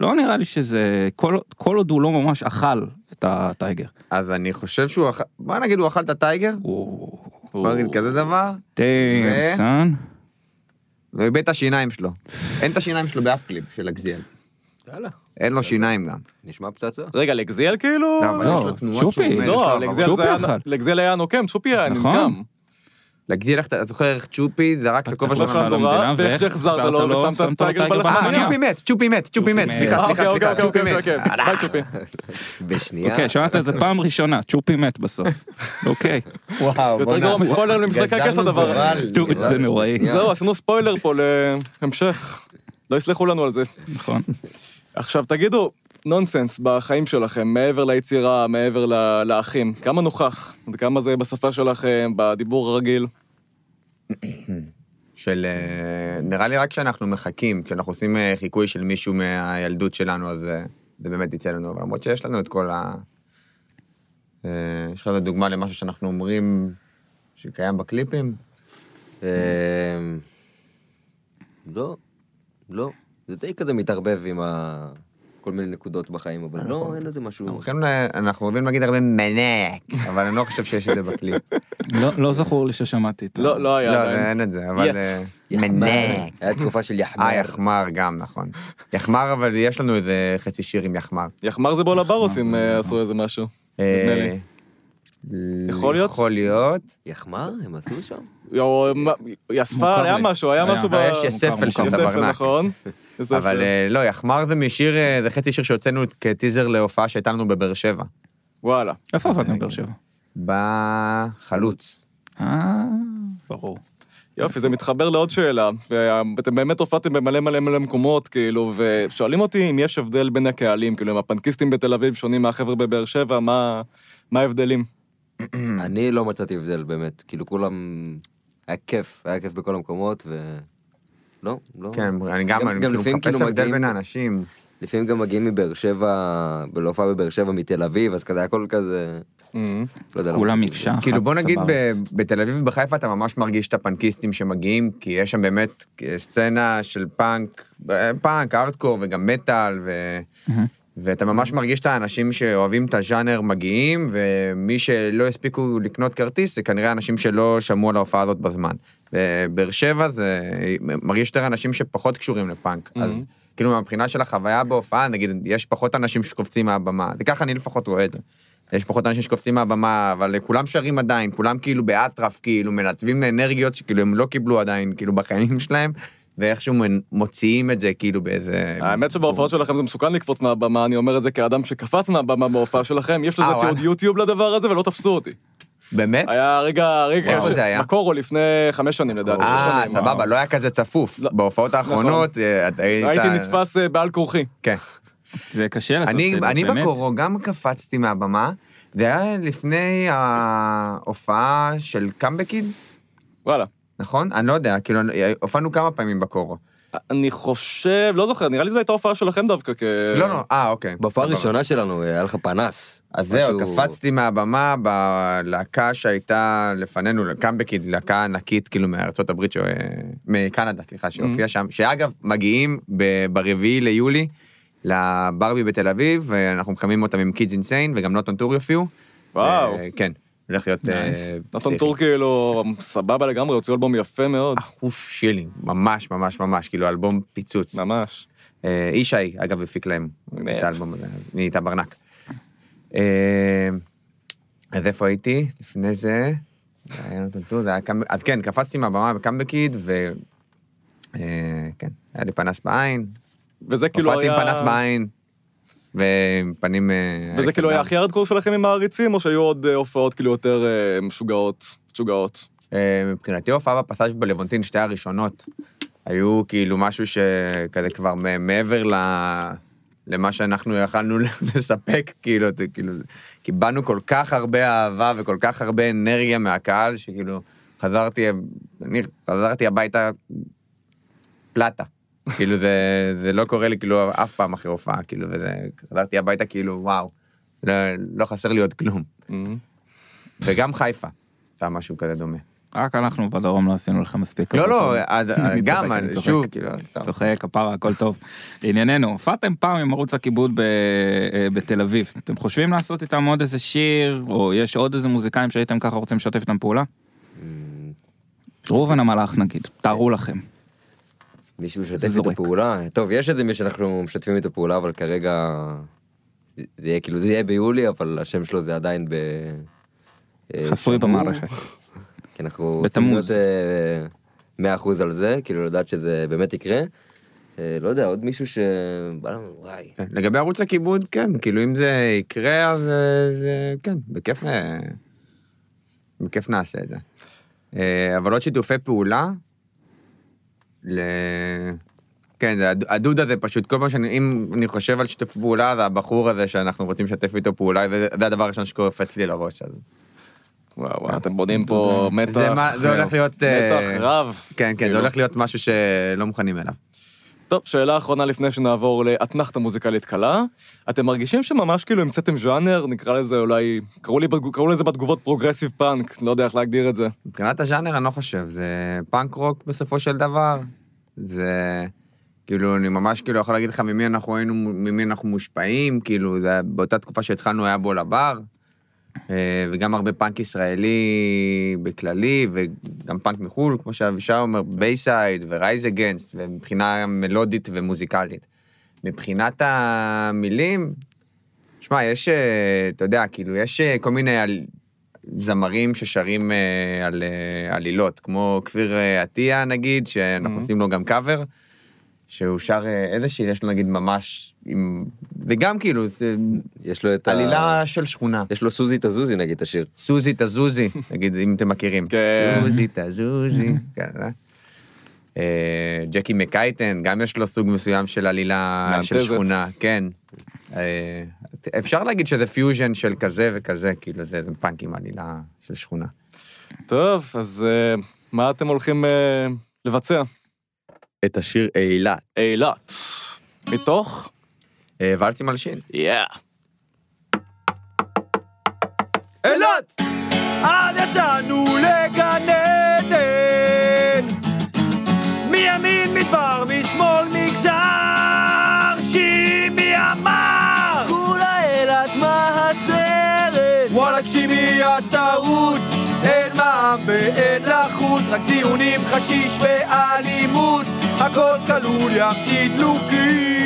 לא נראה לי שזה, כל, כל עוד הוא לא ממש אכל את הטייגר. אז אני חושב שהוא אכל, בוא נגיד הוא אכל את הטייגר, בוא נגיד כזה דבר, דאם, ו- סאן. ואיבד את השיניים שלו. אין את השיניים שלו באף קליפ של הגזיאל. יאללה, אין לו שיניים גם. נשמע פצצה. רגע, לגזיאל כאילו? לא, אבל יש לו לא, תנועות צ'ופי. שהוא אומר, לא, יש לו לא, לגזיאל צ'ופי העברות. זה היה- אכל. לגזיאל היה נוקם, צ'ופי היה נכון. ננקם. להגדיר לך, אתה זוכר איך צ'ופי זרק את הכובע לא שלו שלך שם לחמניה? על המדינה, תורה, ואיך ואיך שהחזרת החזרת לו לו, ושמת שמת לו טייגר טייגר אה, בלחמניה. צ'ופי מת, צ'ופי מת, צ'ופי מת, מת. סליחה, אה, סליחה, אוקיי, אוקיי, סליחה, אוקיי, צ'ופי אוקיי, מת. אוקיי, ביי צ'ופי. אה, בשנייה. אוקיי, שמעת את זה פעם ראשונה, צ'ופי מת בסוף. אוקיי, וואו, יותר גרוע מספוילר למשחק הכס גזלנו הדבר. הזה. גורל. דוד, זה נוראי. אה, שנייה. זהו, עשינו ספוילר פה להמשך. לא יסלחו לנו על זה. נכון. עכשיו תגידו, נונסנס בחיים שלכם, מעבר ליצירה, מעבר ל- לאחים, כמה נוכח? עד כמה זה בשפה שלכם, בדיבור הרגיל? של... אה, נראה לי רק כשאנחנו מחכים, כשאנחנו עושים אה, חיקוי של מישהו מהילדות שלנו, אז אה, זה באמת יצא לנו, אבל למרות שיש לנו את כל ה... אה, יש לך איזה דוגמה למשהו שאנחנו אומרים שקיים בקליפים? אה, אמ, לא, לא. זה די כזה מתערבב עם ה... כל מיני נקודות בחיים, אבל נכון. לא, אין לזה משהו... אנחנו יכולים- אנחנו אוהבים להגיד הרבה מנק, אבל אני לא חושב שיש את זה בקליפ. לא, לא זכור לי ששמעתי את ה- לא, לא היה לא, עדיין. אין את זה, אבל... יט. אה, יחמר. מנק. היה תקופה של יחמר. אה, יחמר גם, נכון. יחמר, אבל יש לנו איזה חצי שיר עם יחמר. יחמר זה בולה ברוס אם אה, עשו איזה משהו. נדמה לי. אה, יכול להיות? יכול להיות. יחמר? הם עשו שם? או, מה- היא מוכר אספה, היה לי. משהו, היה היה. משהו ב... אה, יש יספל שם, יספל, בברנק. נכון. יספל. אבל אה, לא, יחמר זה משיר, אה, זה חצי שיר שהוצאנו כטיזר להופעה שהייתה לנו בבאר שבע. וואלה. איפה עבדנו בבאר שבע? בחלוץ. אה, ברור. יופי, זה מתחבר לעוד שאלה. ואתם באמת הופעתם במלא מלא מלא מקומות, כאילו, ושואלים אותי אם יש הבדל בין הקהלים, כאילו, אם הפנקיסטים בתל אביב שונים מהחבר'ה בבאר שבע, מה מה ההבדלים? Hmm. אני לא מצאתי הבדל באמת, כאילו כולם... היה כיף, היה כיף בכל המקומות, ו... לא, לא. כן, אני גם, אני גם כאילו לפעמים מחפש כאילו הבדל מגיעים- בין האנשים. לפעמים גם מגיעים מבאר שבע, להופעה בבאר שבע מתל אביב, אז כזה הכל כזה... לא יודע למה. כולם Mm-hmm. מקשה אחת. כאילו בוא נגיד סבבה. ב- בתל אביב ובחיפה אתה ממש מרגיש את הפנקיסטים שמגיעים כי יש שם באמת סצנה של פאנק, אה, פאנק, ארטקור וגם מטאל ו... ואתה ממש מרגיש את האנשים שאוהבים את הז'אנר מגיעים ומי שלא הספיקו לקנות כרטיס זה כנראה אנשים שלא שמעו על ההופעה הזאת בזמן. באר שבע זה מרגיש יותר אנשים שפחות קשורים לפאנק אז כאילו מהבחינה של החוויה בהופעה נגיד יש פחות אנשים שקופצים מהבמה זה ככה אני לפחות רואה את זה. יש פחות אנשים שקופצים מהבמה, אבל כולם שרים עדיין, כולם כאילו באטרף, כאילו מנתבים לאנרגיות שכאילו הם לא קיבלו עדיין, כאילו בחיים שלהם, ואיכשהו מנ- מוציאים את זה כאילו באיזה... כן. האמת שבהופעות שלכם זה מסוכן לקפוץ מהבמה, אני אומר את זה כאדם שקפץ מהבמה בהופעה שלכם, יש לזה אה, וואלה. תיעוד יוטיוב לדבר הזה ולא תפסו אותי. באמת? היה רגע, רגע, איפה זה היה? מקורו לפני חמש שנים לדעתי, שש אה, שנים. סבבה, לא היה כזה צפוף. לא. בהופעות האחרונות, אה, אתה היית... הייתי נתפס אה, בעל כורחי. כן. זה קשה לעשות את אני, זה, אני אוקיי, באמת. בקורו גם קפצתי מהבמה, זה היה לפני ההופעה של קאמבקיד, וואלה. נכון? אני לא יודע, כאילו, הופענו כמה פעמים בקורו. אני חושב, לא זוכר, נראה לי זו הייתה הופעה שלכם דווקא, כ... לא, לא, אה, אוקיי. בהופעה סבבה. הראשונה שלנו אה, היה לך פנס. אז זהו, משהו- קפצתי מהבמה בלהקה שהייתה לפנינו, קאמבקית, להקה ענקית כאילו מארצות הברית, ש... מקנדה, סליחה, Mm. שהופיעה שם, שאגב, מגיעים ב- ברביעי ליולי לברבי בתל אביב, ואנחנו מחממים אותם עם קידס אינסיין, וגם נוטון טור יופיעו. וואו. אה, כן, הולך להיות אה, נתן פסיכי. טור כאילו, סבבה לגמרי, הוציאו אלבום יפה אה, מאוד, אחוש שלי, ממש ממש ממש, כאילו אלבום פיצוץ. ממש. אה, ישי, אגב, הפיק להם מגניב. את האלבום הזה, נהייתה ברנק. אה, אז איפה הייתי? לפני זה, זה היה נותן טור, זה היה קאמב... אז כן, קפצתי מהבמה בקאמבקיד, ו... אה, כן, היה לי פנס בעין. וזה כאילו הופעתי היה... עם פנס בעין, ועם פנים... אה, וזה כאילו היה אלכסנדר. הכי הארדקור שלכם עם העריצים, או שהיו עוד אה, הופעות כאילו יותר אה, משוגעות, משוגעות? אה, מבחינתי הופעה בפסאז' בלוונטין, שתי הראשונות, היו כאילו משהו שכזה כבר מ- מעבר ל... למה שאנחנו יכלנו לספק, כאילו, זה כאילו, קיבלנו כל כך הרבה אהבה וכל כך הרבה אנרגיה מהקהל, שכאילו, חזרתי, אני חזרתי הביתה פלטה. כאילו, זה, זה לא קורה לי כאילו אף פעם אחרי הופעה, כאילו, וזה, חזרתי הביתה כאילו, וואו, לא, לא חסר לי עוד כלום. וגם חיפה, הייתה משהו כזה דומה. רק אנחנו בדרום לא עשינו לך מספיק. לא, עבודה. לא, עד- אני גם, צוחק, אני- אני צוחק. שוב, כאילו, טוב. צוחק, כפרה, הכל טוב. לענייננו, הופעתם פעם עם ערוץ הכיבוד ב- אה, בתל אביב. אתם חושבים לעשות איתם עוד איזה שיר, או יש עוד איזה מוזיקאים שהייתם ככה רוצים לשתף איתם פעולה? ראובן המלאך נגיד, תארו לכם. מישהו משתף זה איתו זורק. פעולה? טוב, יש איזה מי שאנחנו משתפים איתו פעולה, אבל כרגע... זה יהיה כאילו, זה יהיה ביולי, אבל השם שלו זה עדיין ב... אה, חסוי שמור. במערכת. כי אנחנו... בתמוז. רוצים להיות, אה, 100% על זה, כאילו לדעת שזה באמת יקרה. אה, לא יודע, עוד מישהו ש... בא לנו, וואי. כן, לגבי ערוץ הכיבוד, כן, כאילו אם זה יקרה, אז אה, זה, כן, בכיף, אה, בכיף נעשה את זה. אה, אבל עוד שיתופי פעולה, ל... כן, זה הד- הדוד הזה פשוט, כל פעם שאני, אם אני חושב על שיתוף פעולה, זה הבחור הזה שאנחנו רוצים לשתף איתו פעולה, וזה זה הדבר הראשון שקופץ לי לראש. אז... וואו, וואו, אתם בונים פה מתח. כן. זה, מה, זה הולך להיות... אה, מתח רב. כן, כן, כאילו. זה הולך להיות משהו שלא מוכנים אליו. טוב, שאלה אחרונה לפני שנעבור לאתנחתא מוזיקלית קלה. אתם מרגישים שממש כאילו המצאתם ז'אנר, נקרא לזה אולי, קראו, לי, בתגו- קראו לזה בתגובות פרוגרסיב פאנק, לא יודע איך להגדיר את זה. מבחינת הז'אנר אני לא חושב, זה פאנק רוק בסופו של דבר. זה כאילו, אני ממש כאילו יכול להגיד לך ממי אנחנו היינו, ממי אנחנו מושפעים, כאילו, זה היה באותה תקופה שהתחלנו היה בול הבר, אה, וגם הרבה פאנק ישראלי בכללי, וגם פאנק מחו"ל, כמו שאבישי אומר, בייסייד ורייז אגנסט, ומבחינה מלודית ומוזיקלית. מבחינת המילים, שמע, יש, אה, אתה יודע, כאילו, יש אה, כל מיני על- זמרים ששרים אה, על אה, עלילות, כמו כפיר אה, עטיה, נגיד, Mm-hmm. שאנחנו עושים לו גם קאבר, שהוא שר אה, איזה שיר, יש לו נגיד ממש, עם... וגם כאילו, זה יש לו את ה... עלילה של שכונה. יש לו סוזי תזוזי נגיד את השיר. סוזי תזוזי, נגיד, אם אתם מכירים. כן. סוזי תזוזי. כן, אה? אה, ג'קי מקייטן, גם יש לו סוג מסוים של עלילה של מאנטזת. שכונה, כן. אה, אפשר להגיד שזה פיוז'ן של כזה וכזה, כאילו זה פאנק עם עלילה של שכונה. טוב, אז אה, מה אתם הולכים אה, לבצע? את השיר אילת. אילת. מתוך? אה, ואלצי מלשין. יאה. אילת! אז יצאנו לגן עדן מימין מדבר, משמאל מגזר שימי אמר כולה אילת מה הסרט? וואלכ שימי הצרות אין מע"מ ואין לחות רק ציונים, חשיש ואלימות הכל כלול ים תדלוקים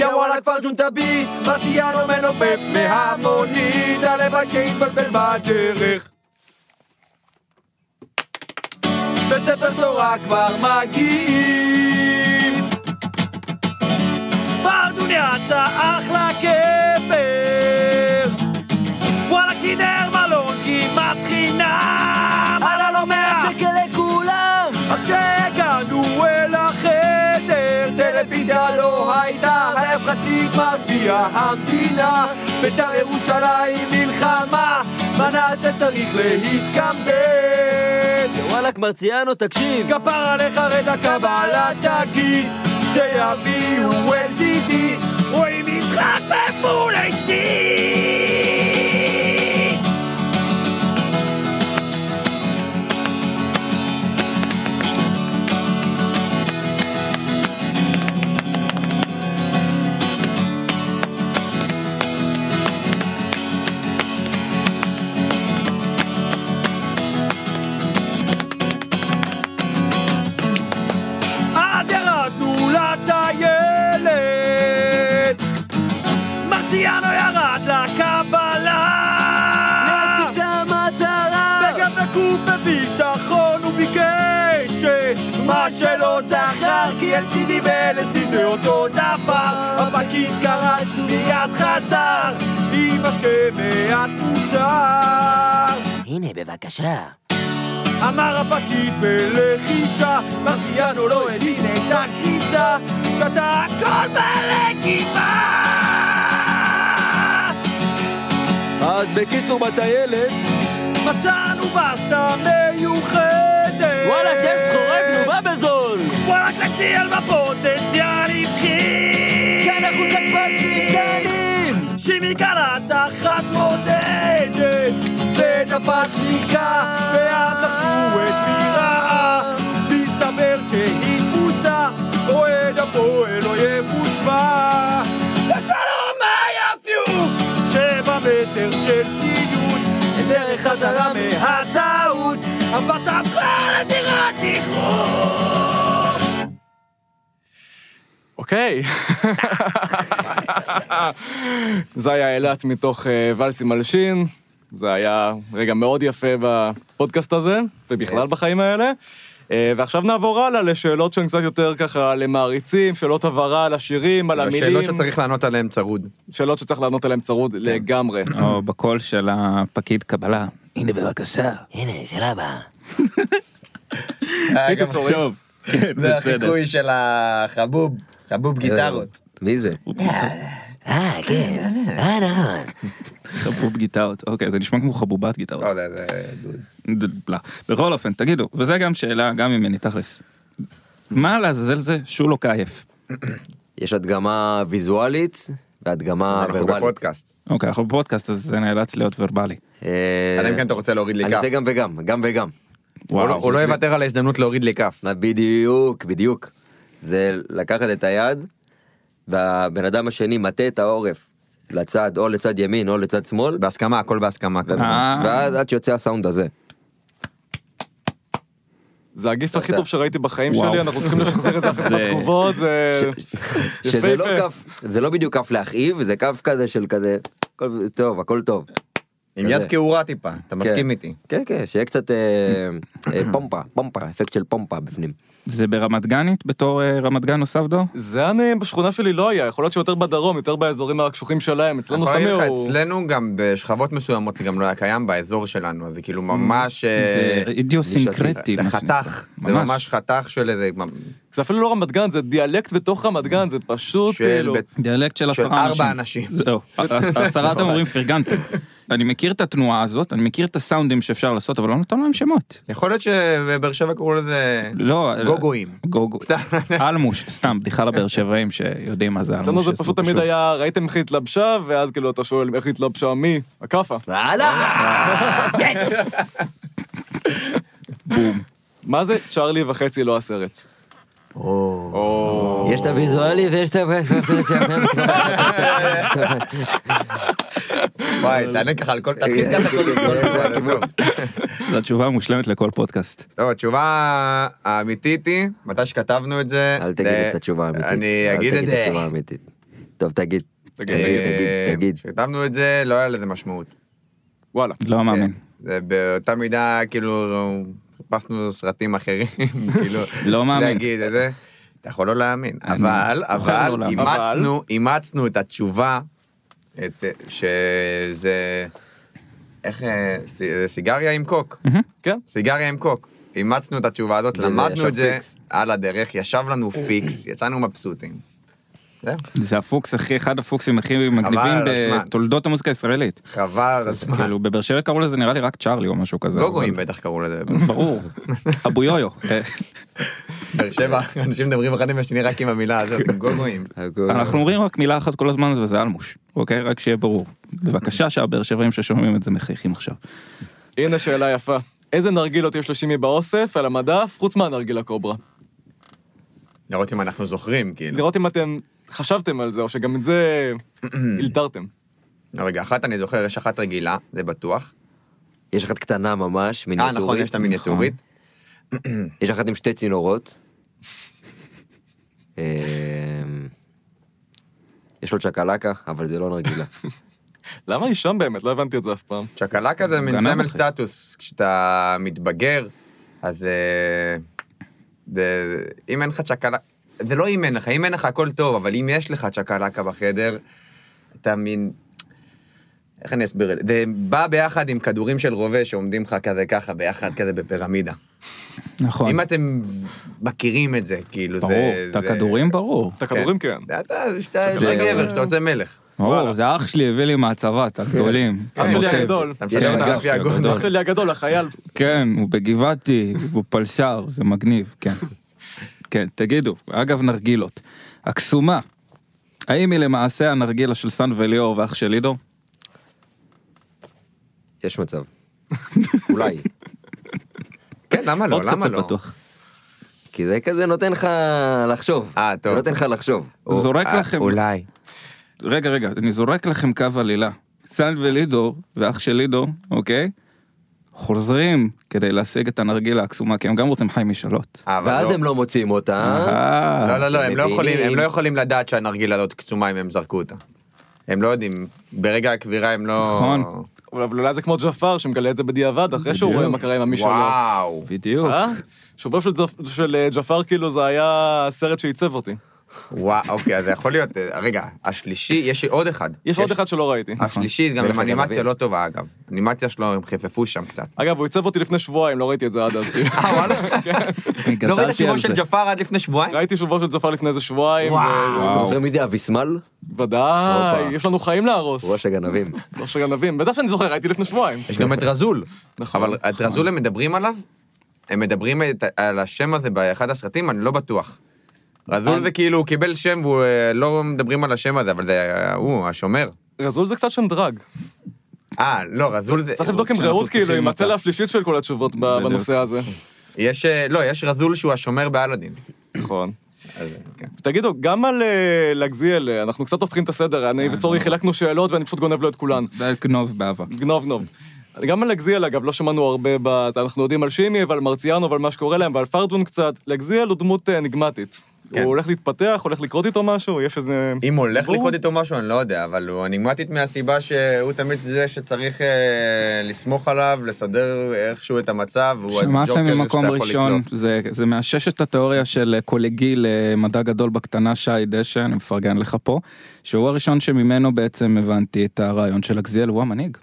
יא וואלה כבר ג'ונטביט, מרציאנו מנופף בהמונית, הלוואי שהתבלבל בדרך. בספר תורה כבר מגיעים. ברדוניאצה אחלה גבר. וואלה קידר מלון כמעט חינם. וואלה לא מאה שקל לכולם. אז כשהגענו אל החדר, טלוויזיה לא הייתה, היה חצי מרביע המדינה. בית"ר ירושלים מלחמה, מה נעשה צריך להתקמבן. וואלכ מרציאנו, תקשיב. כפר עליך רד הקבלה תגיד שיביאו LCD רואים משחק בפול HD עד ירדנו לטיילת מרציאנו ירד לקבלה להשיג את המטרה וגם נקוב בביטחון הוא ביקש את מה שלא זכר כי LCD ו-LSD זה אותו דבר הפקיד קרץ מיד חזר עם השקה מעט מוזר הנה, בבקשה. אמר הפקיד בלחישה, מרציאנו לא הבין את הקריצה, שתה הכל בלגימה! אז בקיצור, בטיילת. מצאנו בסטה מיוחדת! וואלכ, יש סחורה גנובה בזול. וואלכ, נגדיל בפוטנציאל רווחי! כן, אנחנו כתבתי גנים. שימי קלט אחת מודדת, ודפק שריקה, ואז לחשו את מירה. מסתבר שהיא תפוצה, אוהד הפועל לא יבושבע. ושלום היפיו! שבע מטר של ציוד, דרך חזרה מהטעות, אבל תפחה לדירת תגרום! אוקיי. זה היה אילת מתוך אה, ולסי מלשין. זה היה רגע מאוד יפה בפודקאסט הזה, ובכלל בחיים האלה. אה, ועכשיו נעבור הלאה לשאלות שהן קצת יותר ככה למעריצים, שאלות הבהרה על השירים, על המילים. השאלות לא, שצריך לענות עליהן צרוד. שאלות שצריך לענות עליהן צרוד לגמרי. או בקול של הפקיד קבלה. הנה, בבקשה. הנה, שאלה הבאה. בקיצור, טוב, כן, בסדר. של החבוב, חבוב אה, מי זה? אה, כן. אה, נכון. חבוב גיטרות, אוקיי, זה נשמע כמו חבובת גיטרות. לא יודע, זה דוד. לא. בכל אופן, תגידו, וזה גם שאלה, גם ממני, תכלס. מה לעזאזל זה לא שולו קייף? יש הדגמה ויזואלית אה, והדגמה אנחנו ורבלית. בפודקאסט. אוקיי, אנחנו בפודקאסט, אז זה נאלץ להיות ורבלי. אה, אלא אם כן אתה רוצה להוריד לי אני כף. עושה גם וגם, גם וגם. הוא לא- וואו. הוא לא יוותר על ההזדמנות להוריד לי כף. בדיוק, בדיוק. זה לקחת את היד, והבן אדם השני מטה את העורף לצד, או לצד ימין או לצד שמאל, בהסכמה, הכל בהסכמה. כמובן. אה. ואז עד שיוצא הסאונד הזה. זה הגיף הכי טוב שראיתי בחיים וואו. שלי, אנחנו צריכים לשחזר את זה אחרי זה- התגובות, זה... שזה לא יפהפה. כף, זה לא בדיוק כף להכאיב, זה כף כזה של כזה, הכל טוב, הכל טוב. עם יד כזה. כעורה טיפה, אתה מסכים כן. איתי. כן, כן, שיהיה קצת אה, אה, פומפה, פומפה, אפקט של פומפה בפנים. זה ברמת גנית בתור אה, רמת גן נוסף דור? זה אני, בשכונה שלי לא היה, יכול להיות שיותר בדרום, יותר באזורים הקשוחים שלהם, לא אצלנו יכול סתם להגיד לך, הוא... אצלנו גם בשכבות מסוימות זה גם לא היה קיים באזור שלנו, זה כאילו ממש... Mm, זה אה, אידיוסינקרטי. מה זה שנקרא. חתך, זה ממש. ממש חתך של איזה... זה אפילו לא רמת גן, זה דיאלקט בתוך רמת גן, זה לא פשוט של כאילו... בית- דיאלקט של של עשרה ארבע אנשים. זהו, עשרה אתם אומרים פרגנתם. אני מכיר את התנועה הזאת, אני מכיר את הסאונדים שאפשר לעשות, אבל לא נתנו להם שמות. יכול להיות שבאר שבע קראו לזה... לא, גוגואים. גוגו. סתם. אלמוש, סתם, בדיחה לבאר שבעים שיודעים מה זה אלמוש. אצלנו זה עשו פשוט תמיד היה, ראיתם איך היא התלבשה, ואז כאילו אתה שואל איך היא התלבשה, מי? הכאפה. וואלה! מה זה צ'ארלי וחצי לא הסרט? יש את הוויזואלי ויש את ה... וואי, תענה ככה על כל... כן, תתחיל אה, ככה על כל- כל- כל- כל- זו התשובה המושלמת לכל פודקאסט. אה. לא, התשובה האמיתית היא, מתי שכתבנו את זה... אל תגיד זה- את התשובה האמיתית. אני אל אגיד את תגיד זה. התשובה האמיתית. טוב, תגיד. תגיד, תגיד, תגיד, תגיד. כשכתבנו את זה, לא היה לזה משמעות. וואלה. לא מאמין. כן. זה באותה מידה, כאילו, חיפשנו סרטים אחרים, כאילו, לא מאמין. להגיד את זה. אתה יכול לא להאמין, אבל, בוחר אבל, לא להאמין. אימצנו, אימצנו את התשובה, את, אה, שזה, איך, אה, ס- אה, סיגריה עם קוק, כן? סיגריה עם קוק. אימצנו את התשובה הזאת, וזה למדנו ישב את זה פיקס. על הדרך, ישב לנו פיקס, יצאנו מבסוטים. זהו, זה הפוקס הכי, אחד הפוקסים הכי מגניבים על הזמן. בתולדות המוזיקה הישראלית. חבל על הזמן. כאילו, בבאר שבע קראו לזה נראה לי רק צ'ארלי או משהו כזה. גוגואים אבל- בטח קראו לזה. ברור. אבו יויו. אה, באר שבע, אנשים מדברים אחד עם השני רק עם המילה הזאת, גוגואים. אה, נכון. אנחנו אומרים רק מילה אחת כל הזמן וזה אלמוש, אוקיי? רק שיהיה ברור. בבקשה שהבאר שבעים ששומעים את זה מחייכים עכשיו. הנה שאלה יפה. איזה נרגילות יש לשימי באוסף, על המדף, חוץ מהנרגילה קוברה? לראות אם אנחנו זוכרים, כאילו. לראות אם אתם חשבתם על זה, או שגם את זה הילתרתם. לא, רגע, אחת אני זוכר, יש אחת רגילה, זה בטוח. יש אחת קטנה ממש, אה, מיניאטורית. נכון, יש את המיניאטורית. יש אחת עם שתי צינורות. אמ, יש עוד שקלקה, אבל זה לא נרגילה. למה היא שם באמת? לא הבנתי את זה אף פעם. צ'קלקה זה מין גנב סמל אחי. סטטוס, כשאתה מתבגר, אז... אה, זה- אם אין לך צ'קלקה... זה לא אם אין לך, אם אין לך הכל טוב, אבל אם יש לך צ'קלקה בחדר, אתה מין... איך אני אסביר את זה? זה בא ביחד עם כדורים של רובה שעומדים לך כזה ככה, ביחד כזה בפירמידה. נכון. אם אתם מכירים את זה, כאילו, זה... ברור. את זה- הכדורים ברור. את הכדורים כן. אתה, שאתה אתה גבר, שאתה עושה מלך. ברור, זה אח שלי הביא לי מהצבא, את הגדולים. כן. אח שלי כותב. הגדול. כן. אתה יש משלם אותה מגף לפי הגודל. אח שלי הגדול, החייל. כן, הוא בגבעתי, הוא פלסר, זה מגניב, כן. כן, תגידו, אגב נרגילות. הקסומה, האם היא למעשה הנרגילה של סן וליאור ואח של עידו? יש מצב. אולי. כן, למה לא? עוד למה קצה לא? פתוח. כי זה כזה נותן לך לחשוב. אה, טוב. זה נותן לך לחשוב. או- זורק אה, לכם. אולי. רגע, רגע, אני זורק לכם קו עלילה. סן ולידו ואח של לידו, אוקיי? חוזרים כדי להשיג את הנרגילה הקסומה, כי הם גם רוצים חיים משאלות. אה, אבל ואז לא. הם לא מוצאים אותה. אה, לא, לא, לא, הם לא מבינים. יכולים- הם לא יכולים לדעת שהנרגילה הזאת קצומה אם הם זרקו אותה. הם לא יודעים. ברגע הקבירה הם לא... נכון. אבל אבל אולי זה כמו ג'פר שמגלה את זה בדיעבד, אחרי שהוא בדיוק. רואה מה קרה עם המשאלות. וואו. בדיוק. אה? שובו של זפ- של אה, ג'פר כאילו זה היה הסרט שעיצב אותי. וואו, אוקיי, אז זה יכול להיות... אה, רגע, השלישי, יש עוד אחד. יש עוד אחד שלא ראיתי. נכון. השלישי גם עם מלך אנימציה הגנבים. לא טובה, אגב. אנימציה שלו, הם חיפפו שם קצת. אגב, הוא עיצב אותי לפני שבועיים, לא ראיתי את זה עד אז. כאילו. אה, וואלה? אני לא ראית גדלתי על שמו זה. של ג'פר עד לפני שבועיים? ראיתי שובו של ג'פר לפני איזה שבועיים. ו- אתה אה, זוכר מי זה אביסמל? ודאי, הופה. יש לנו חיים להרוס. לא ראש הגנבים. ראש הגנבים. בטח שאני זוכר, ראיתי לפני שבועיים. יש גם את רזול. נכון. אבל אוקיי. את רזול הם מדברים עליו? הם מדברים את, על השם הזה באחד הסרטים? אני לא בטוח. רזול זה כאילו, הוא קיבל שם והוא אה, לא מדברים על השם הזה, אבל זה היה הוא, השומר. רזול זה קצת שנדרג. אה, לא, רזול זה... צריך לבדוק עם שאנחנו רעות כאילו, צריכים עם אותה. הצלע השלישית של כל התשובות ב- בדיוק. בנושא הזה. יש, אה, לא, יש רזול שהוא השומר באלאדין. נכון. אז, כן. תגידו, גם על אה, לגזיאל, אה, אנחנו קצת הופכים את הסדר, אה, אני וצורי חילקנו שאלות ואני פשוט גונב לו את כולן. גנוב באבק. גנוב גנוב. גם על לגזיאל, אגב, לא שמענו הרבה בזה, אנחנו יודעים על שימי ועל מרציאנו ועל מה שקורה להם ועל פרדון קצת. לגזיאל הוא דמות אה, אניגמטית. כן. הוא הולך להתפתח, הולך לקרות איתו משהו, יש איזה... אם הולך ברור. לקרות איתו משהו, אני לא יודע, אבל הוא אניגמטית מהסיבה שהוא תמיד זה שצריך אה, לסמוך עליו, לסדר איכשהו את המצב, הוא שמעתם הג'וקר ממקום שאתה יכול ראשון, לקלוף. זה, זה מאשש את התיאוריה של אה, קולגי למדע גדול בקטנה שי דשא, אני מפרגן לך פה, שהוא הראשון שממנו בעצם הבנתי את הרעיון של אגזיאל, הוא המנהיג.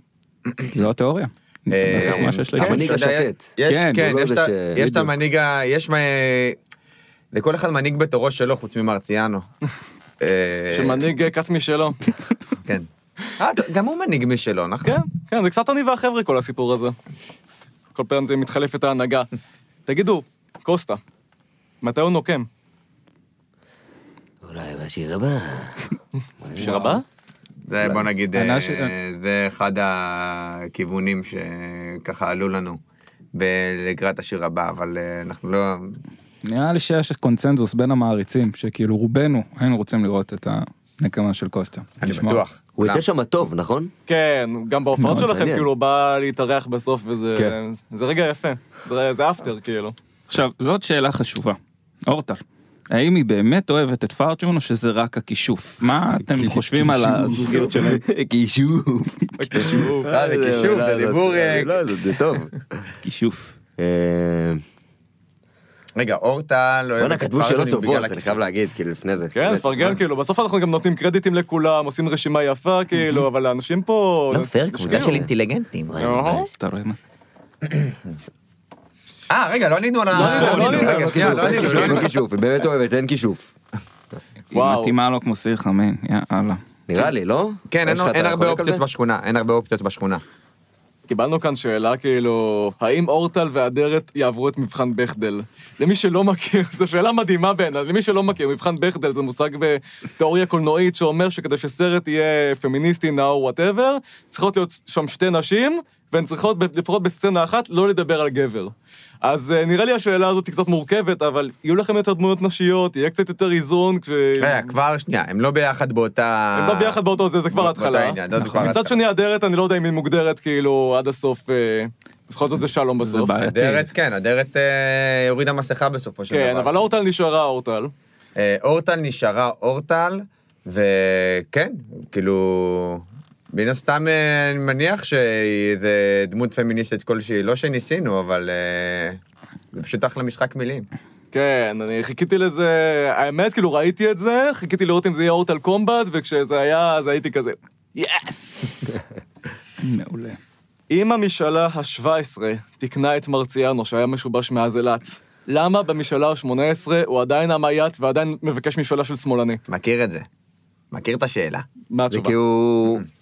זו התיאוריה. אני אה, שמח על מה שיש לי. המנהיג אתה יודע, השקט. יש- כן, כן, הוא לא יש זה את ה- ש- יש את בדיוק. המנהיג, ה- יש... מה- לכל אחד מנהיג בתורו שלו, חוץ ממרציאנו. אה, שמנהיג אה, כת משלו. כן. אה, גם הוא מנהיג משלו, נכון? כן, כן, זה קצת אני והחבר'ה כל הסיפור הזה. כל פעם זה מתחלפת ההנהגה. תגידו, קוסטה, מתי הוא נוקם? אולי בשיר הבא. שיר הבא? זה בוא נגיד, אני אה, ש- זה אחד הכיוונים שככה עלו לנו ב- לקראת השיר הבא, אבל אה, אנחנו לא... נראה לי שיש קונצנזוס בין המעריצים, שכאילו רובנו היינו רוצים לראות את הנקמה של קוסטה. אני לשמוע. בטוח. הוא יוצא כולם. שם טוב, נכון? כן, גם בהופעות מאוד שלכם, מעניין. כאילו, הוא בא להתארח בסוף, וזה כן. זה רגע יפה. זה- זה אפטר, כאילו. עכשיו, זאת שאלה חשובה. אורטל, האם היא באמת אוהבת את פארצ'ון או שזה רק הכישוף? מה אתם חושבים על הזוגיות שלהם? כישוף. הכישוף. אה, זה קישוב, זה דיבור... אה, לא, זה זה טוב. כישוף. אה, רגע, אורטה לא בואנה, כתבו שאלות פרטונים טובות, בגלל אני הכישוף. חייב להגיד, כאילו, לפני זה. כן, באמת. מפרגן, כאילו, בסוף אנחנו גם נותנים קרדיטים לכולם, עושים רשימה יפה, כאילו, אבל האנשים פה... לא פייר, משקיעים. קבוצה של אינטליגנטים. אוהו. אתה רואה מה זה? אה, רגע, לא ענינו על ה... ענינו, לא ענינו, רגע, לא שנייה, כישוף, לא אין ענינו, לא ענינו. כישוף, אין כישוף, היא באמת אוהבת, אין כישוף. היא וואו. מתאימה לו כמו סיר חמין, יאללה. נראה לי, לא? כן, אין- יש לך- אתה אין הרבה חולק על אופציות זה? בשכונה, אין הרבה אופציות בשכונה. קיבלנו כאן שאלה, כאילו, האם אורטל ואדרת יעברו את מבחן בכדל? למי שלא מכיר, זו שאלה מדהימה בעיניי, למי שלא מכיר, מבחן בכדל זה מושג בתיאוריה קולנועית שאומר שכדי שסרט יהיה פמיניסטי, נאו, וואטאבר, צריכות להיות שם שתי נשים, והן צריכות, ב- לפחות בסצנה אחת, לא לדבר על גבר. אז אה, נראה לי השאלה הזאת היא קצת מורכבת, אבל יהיו לכם יותר דמויות נשיות, יהיה קצת יותר איזון, כש... רגע, כבר שנייה, הם לא ביחד באותה... הם לא ביחד באותו זה, זה כבר באותה התחלה. נכון. עניין, זאת כבר מצד התחלה. שני, אדרת, אני לא יודע אם היא מוגדרת כאילו עד הסוף, אה, בכל זאת זה שלום זה בסוף. בעייתי. אדרת, כן, אדרת אה, הורידה מסכה בסופו של דבר. כן, אבל אורטל נשארה אורטל. אה, אורטל נשארה אורטל, וכן, כאילו... מן הסתם אה, אני מניח שהיא זה דמות פמיניסטית כלשהי, לא שניסינו, אבל אה, זה פשוט אחלה משחק מילים. כן, אני חיכיתי לזה, האמת, כאילו ראיתי את זה, חיכיתי לראות אם זה יהיה אורטל קומבט, וכשזה היה, אז הייתי כזה, יס! מעולה. אם המשאלה ה-17 תיקנה את מרציאנו, שהיה משובש מאז אילת, למה במשאלה ה-18 הוא עדיין המייט ועדיין מבקש משאלה של שמאלני? מכיר את זה. מכיר את השאלה. מה זה כאילו- התשובה? כי הוא...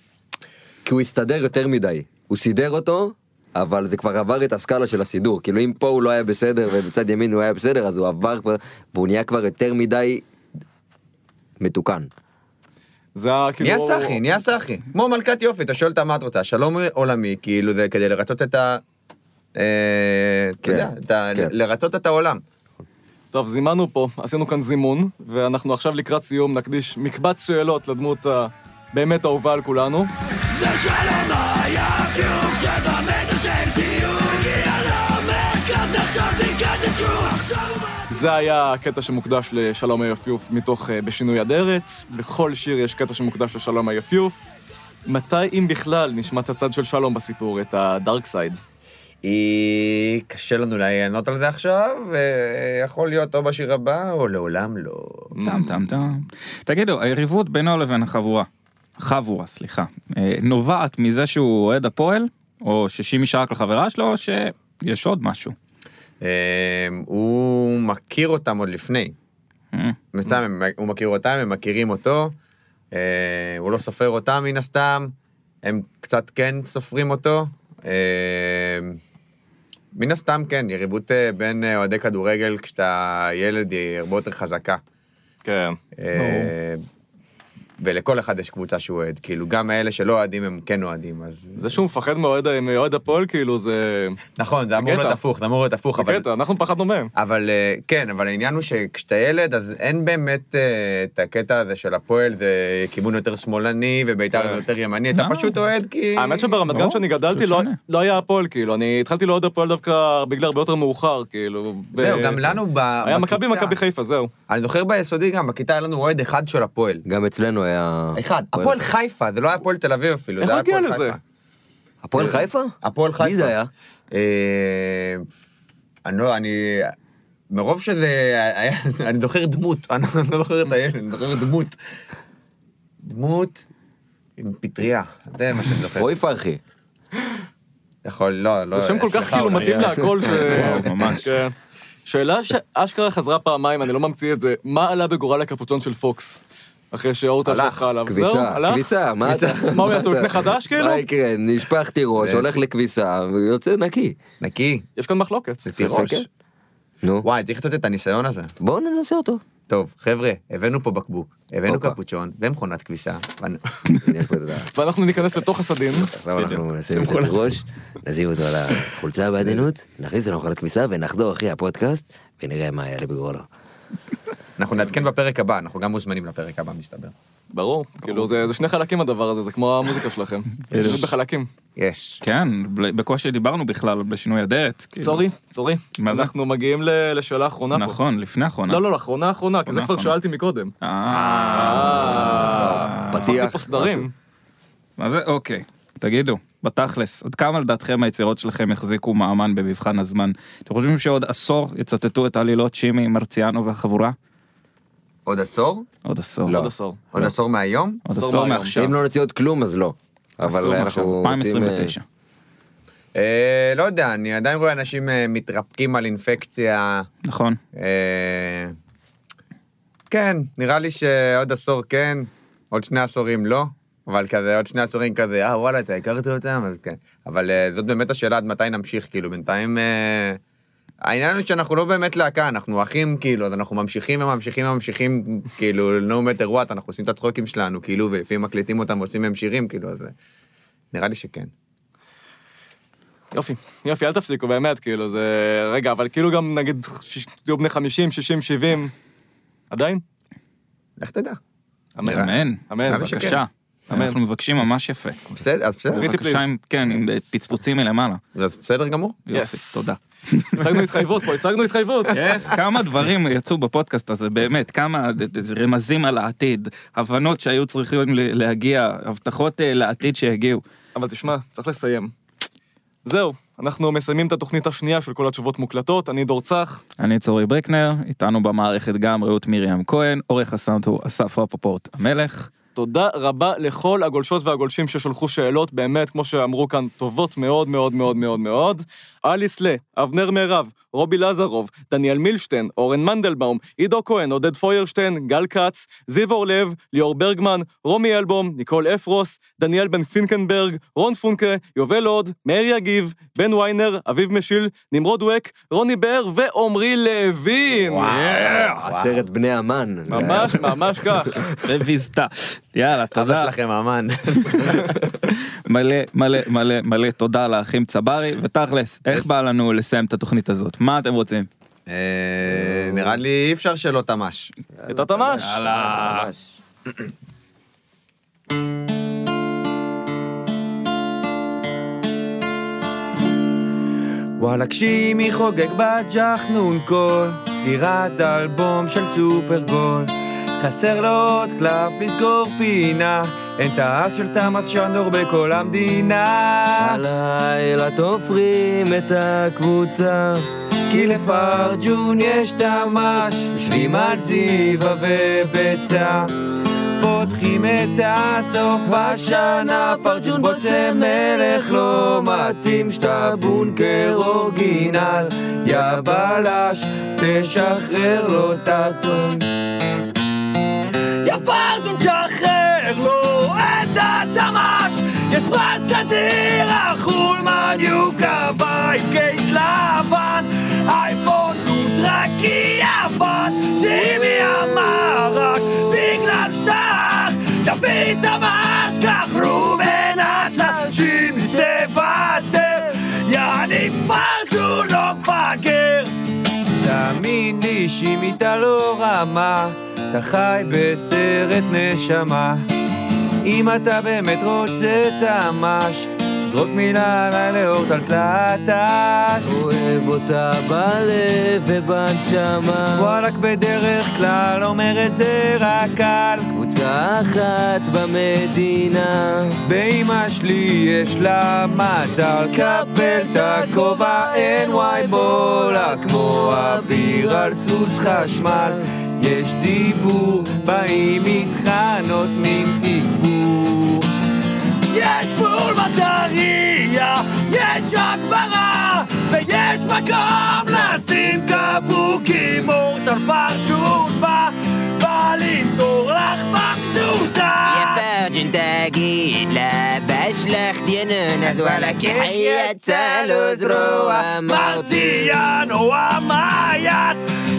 כי הוא הסתדר יותר מדי. הוא סידר אותו, אבל זה כבר עבר את הסקאלה של הסידור. כאילו אם פה הוא לא היה בסדר ובצד ימין הוא היה בסדר, אז הוא עבר כבר, והוא נהיה כבר יותר מדי מתוקן. זה היה כאילו... נהיה סאחי, נהיה סאחי. כמו מלכת יופי, אתה שואל אותה מה את רוצה, שלום עולמי, כאילו זה כדי לרצות את ה... אה, אתה כן, יודע, את ה- כן. לרצות את העולם. טוב, זימנו פה, עשינו כאן זימון, ואנחנו עכשיו לקראת סיום נקדיש מקבץ שאלות לדמות הבאמת אהובה על כולנו. זה שלא היה חיוב שבמטר של טיול הגיע למרכז עכשיו ניקדת שוב עכשיו הוא בא זה היה הקטע שמוקדש לשלום היפיוף מתוך אה, בשינוי אדרת. לכל שיר יש קטע שמוקדש לשלום היפיוף. מתי, אם בכלל, נשמע את הצד של שלום בסיפור, את הדארק סייד? היא... קשה לנו לענות על זה עכשיו, ויכול להיות או בשיר הבא או לעולם לא. טם טם טם. תגידו, היריבות בינו לבין החבורה, חבורה, סליחה, אה, נובעת מזה שהוא אוהד הפועל, או ששימי שרק לחברה שלו, או שיש עוד משהו? אה, הוא מכיר אותם עוד לפני. אה, אותם, הם- הוא מכיר אותם, הם מכירים אותו, אה, הוא לא סופר אותם מן הסתם, הם קצת כן סופרים אותו. אה, מן הסתם כן, יריבות אה, בין אה, אוהדי כדורגל כשאתה ילד היא הרבה יותר חזקה. כן. אה, ולכל אחד יש קבוצה שהוא אוהד, כאילו, גם אלה שלא אוהדים הם כן אוהדים, אז... זה שהוא מפחד מאוהד מאוהד הפועל, כאילו, זה... נכון, זה אמור הקטע. להיות הפוך, זה אמור להיות הפוך, אבל... הקטע, אנחנו פחדנו מהם. אבל אה, כן, אבל העניין הוא שכשאתה ילד, אז אין באמת אה, את הקטע הזה של הפועל, זה כיוון יותר שמאלני, ובית"ר זה יותר ימני, אתה לא. פשוט אוהד כי... כן. האמת שברמת גן ברור, שאני גדלתי פשוט לא- שונה. לא היה הפועל, כאילו, אני התחלתי לאוהד הפועל דווקא בגלל הרבה יותר מאוחר, כאילו. ב- זהו, גם לנו ב... היה בכיתה- מכבי מכבי חיפה, זהו. אני זוכר ביסודי גם, בכיתה היה לנו אוהד אחד של הפועל. גם אצלנו היה... אחד. הפועל חיפה, זה לא היה הפועל תל אביב אפילו, איך זה היה הוא הגיע הפועל לזה? חיפה. אה, הפועל חיפה? הפועל חיפה. מי זה היה? אה, אני לא, אני... מרוב שזה... היה- אני זוכר דמות, אני לא זוכר את הילד, אני זוכר דמות. דמות עם פטריה, זה מה שאני זוכר. רועי פרחי. יכול, לא, לא... זה שם כל כך אצלך כאילו אולי. מתאים להכל ש... וואו, ממש. כן. שאלה שאשכרה חזרה פעמיים, אני לא ממציא את זה, מה עלה בגורל הקפוצ'ון של פוקס? אחרי שהאורטל הלך, שלך עליו. זהו, כביסה, הלך? כביסה, מה כביסה. אתה... מה הוא יעשה, הוא אתה- יקנה חדש, כאילו? אה. מה יקרה, נשפכתי ראש, הולך לכביסה, ויוצא נקי. נקי. יש כאן מחלוקת. תירוש. יפה, כן? נו, וואי, צריך לתת את הניסיון הזה. בואו ננסה אותו. טוב, חבר'ה, הבאנו פה בקבוק, הבאנו הופה. קפוצ'ון ומכונת כביסה. ואני- אני יכול לדעת. ואנחנו ניכנס לתוך הסדין. עכשיו אנחנו נשים את הראש, נשים אותו על החולצה בעדינות, נכניס אותו למכונת כביסה ונחזור אחרי הפודקאסט ונראה מה יעלה בגורלו. אנחנו נעדכן בפרק הבא, אנחנו גם מוזמנים לפרק הבא, מסתבר. ברור, כאילו זה זה שני חלקים הדבר הזה, זה כמו המוזיקה שלכם. זה פשוט בחלקים. יש. כן, ב- בקושי דיברנו בכלל בשינוי הדעת. כאילו. סורי, סורי. מה זה? אנחנו מגיעים ל- לשאלה האחרונה פה. נכון, לפני האחרונה. לא, לא, לאחרונה האחרונה, כי זה אחרונה, כבר אחרונה. שאלתי מקודם. אה. הפכתי פתיח. פה סדרים. מה זה? אוקיי. תגידו, בתכלס, עד כמה לדעתכם היצירות שלכם החזיקו מעמד במבחן הזמן? אתם חושבים שעוד עשור יצטטו את עלילות שימי, מרציאנו והחבורה? עוד עשור? עוד עשור. עוד עשור. עוד עשור מהיום? עוד עשור עשור מהיום. מעכשיו. לא. אם לא נוציא עוד כלום אז לא. אבל עשור אנחנו מעכשיו, רוצים... אה, 2029. אה, לא יודע, אני עדיין רואה אנשים אה, מתרפקים על אינפקציה. נכון. אה, כן, נראה לי שעוד עשור כן, עוד שני עשורים לא, אבל כזה עוד שני עשורים כזה, אה וואלה, אתה הכרת אותם? אז כן. אבל אה, זאת באמת השאלה עד מתי נמשיך, כאילו, בינתיים... אה, העניין הוא שאנחנו לא באמת להקה, אנחנו אחים, כאילו, אז אנחנו ממשיכים וממשיכים וממשיכים, כאילו, no matter what, אנחנו עושים את הצחוקים שלנו, כאילו, ולפעמים מקליטים אותם ועושים מהם שירים, כאילו, אז אה, נראה לי שכן. יופי, יופי, אל תפסיקו, באמת, כאילו, זה... רגע, אבל כאילו גם נגיד, ש- תהיו בני 50, 60, 70, עדיין? לך תדע. אמן. אמן, בבקשה. אמן. אנחנו מבקשים ממש יפה. בסדר, אז בסדר, Pretty please. בבקשה, עם- כן, עם פצפוצים מלמעלה. אז בסדר גמור. יופי, Yes. תודה. השגנו התחייבות פה, השגנו התחייבות. יס, כמה דברים יצאו בפודקאסט הזה, באמת, כמה ד- ד- רמזים על העתיד, הבנות שהיו צריכים ל- להגיע, הבטחות אה, לעתיד שהגיעו. אבל תשמע, צריך לסיים. זהו, אנחנו מסיימים את התוכנית השנייה של כל התשובות מוקלטות, אני דור צח, אני צורי ברקנר, איתנו במערכת גם רעות מרים כהן, עורך הסאונד הוא אסף רפפורט המלך. תודה רבה לכל הגולשות והגולשים ששלחו שאלות, באמת, כמו שאמרו כאן, טובות מאוד מאוד מאוד מאוד מאוד. אליס לה, אבנר מירב, רובי לזרוב, דניאל מילשטיין, אורן מנדלבאום, עידו כהן, עודד פוירשטיין, גל כץ, זיו אורלב, ליאור ברגמן, רומי אלבום, ניקול אפרוס, דניאל בן פינקנברג, רון פונקה, יובל הוד, מאיר יגיב, בן ויינר, אביב משיל, נמרוד וק, רוני באר ועמרי לוין. אה, עשרת בני המן. זה היה- ממש ממש כך. רוויזתה. יאללה, אבא תודה. שלכם אמן. מלא מלא מלא מלא תודה לאחים צברי, ותכלס, איך בא לנו לסיים את התוכנית הזאת? מה אתם רוצים? אה, נראה לי אי אפשר שלא תמ"ש. את התמ"ש. ממש. וואלה כשאימי חוגג בג'חנון קול, סגירת אלבום של סופרגול. חסר לו עוד קלף לסגור פינה, אין את האף של תמאס שנדור בכל המדינה. הלילה תופרים את הקבוצה, כי לפרג'ון יש תמ"ש, יושבים על זיווה וביצה. פותחים את הסוף השנה, פרג'ון בוצע מלך לא מתאים, שאתה בונקר אורגינל, יא בלש, תשחרר לו את הטון. יא פרג'ון שחרר לו את התמ"ש יש פרס נדיר, החולמן יוקביי קייס לבן אייפון דודרקי יוון שאם היא אמרה רק בגלל שטח יא להתאבש, כך ראובן הצלשים תוותר, יעני פרג'ו לא מפגר. תאמין לי שאם איתה לא רמה, אתה חי בסרט נשמה. אם אתה באמת רוצה את המש, זרוק מילה עליי לאור טלטלת אש. אוהב אותה בלב ובנשמה, וואלכ בדרך כלל אומר את זה רק קל. קבוצה אחת במדינה. באמא שלי יש לה מזל, קבל את הכובע, אין וואי בולה, כמו אביר על סוס חשמל. יש דיבור, באים איתך, נותנים תגבור. יש גבול בטריה, יש הגברה, ויש מקום לשים קבוקים אורטל פרג'ובה, בא למכור לך במזוזה. فاجن تاكيد لا باش لا خدينا نذوالك حياة سالو زروة מרציאנו המייט,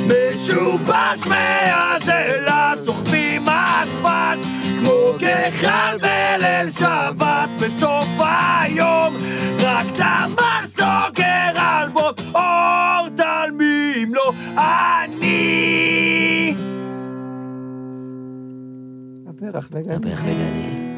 משובש מאז אילת, סוחבים אספן, כמו גחל בליל שבת, בסוף היום, רק תמר סוגר על בוס, אור תלמים לו אני. הפך לגני.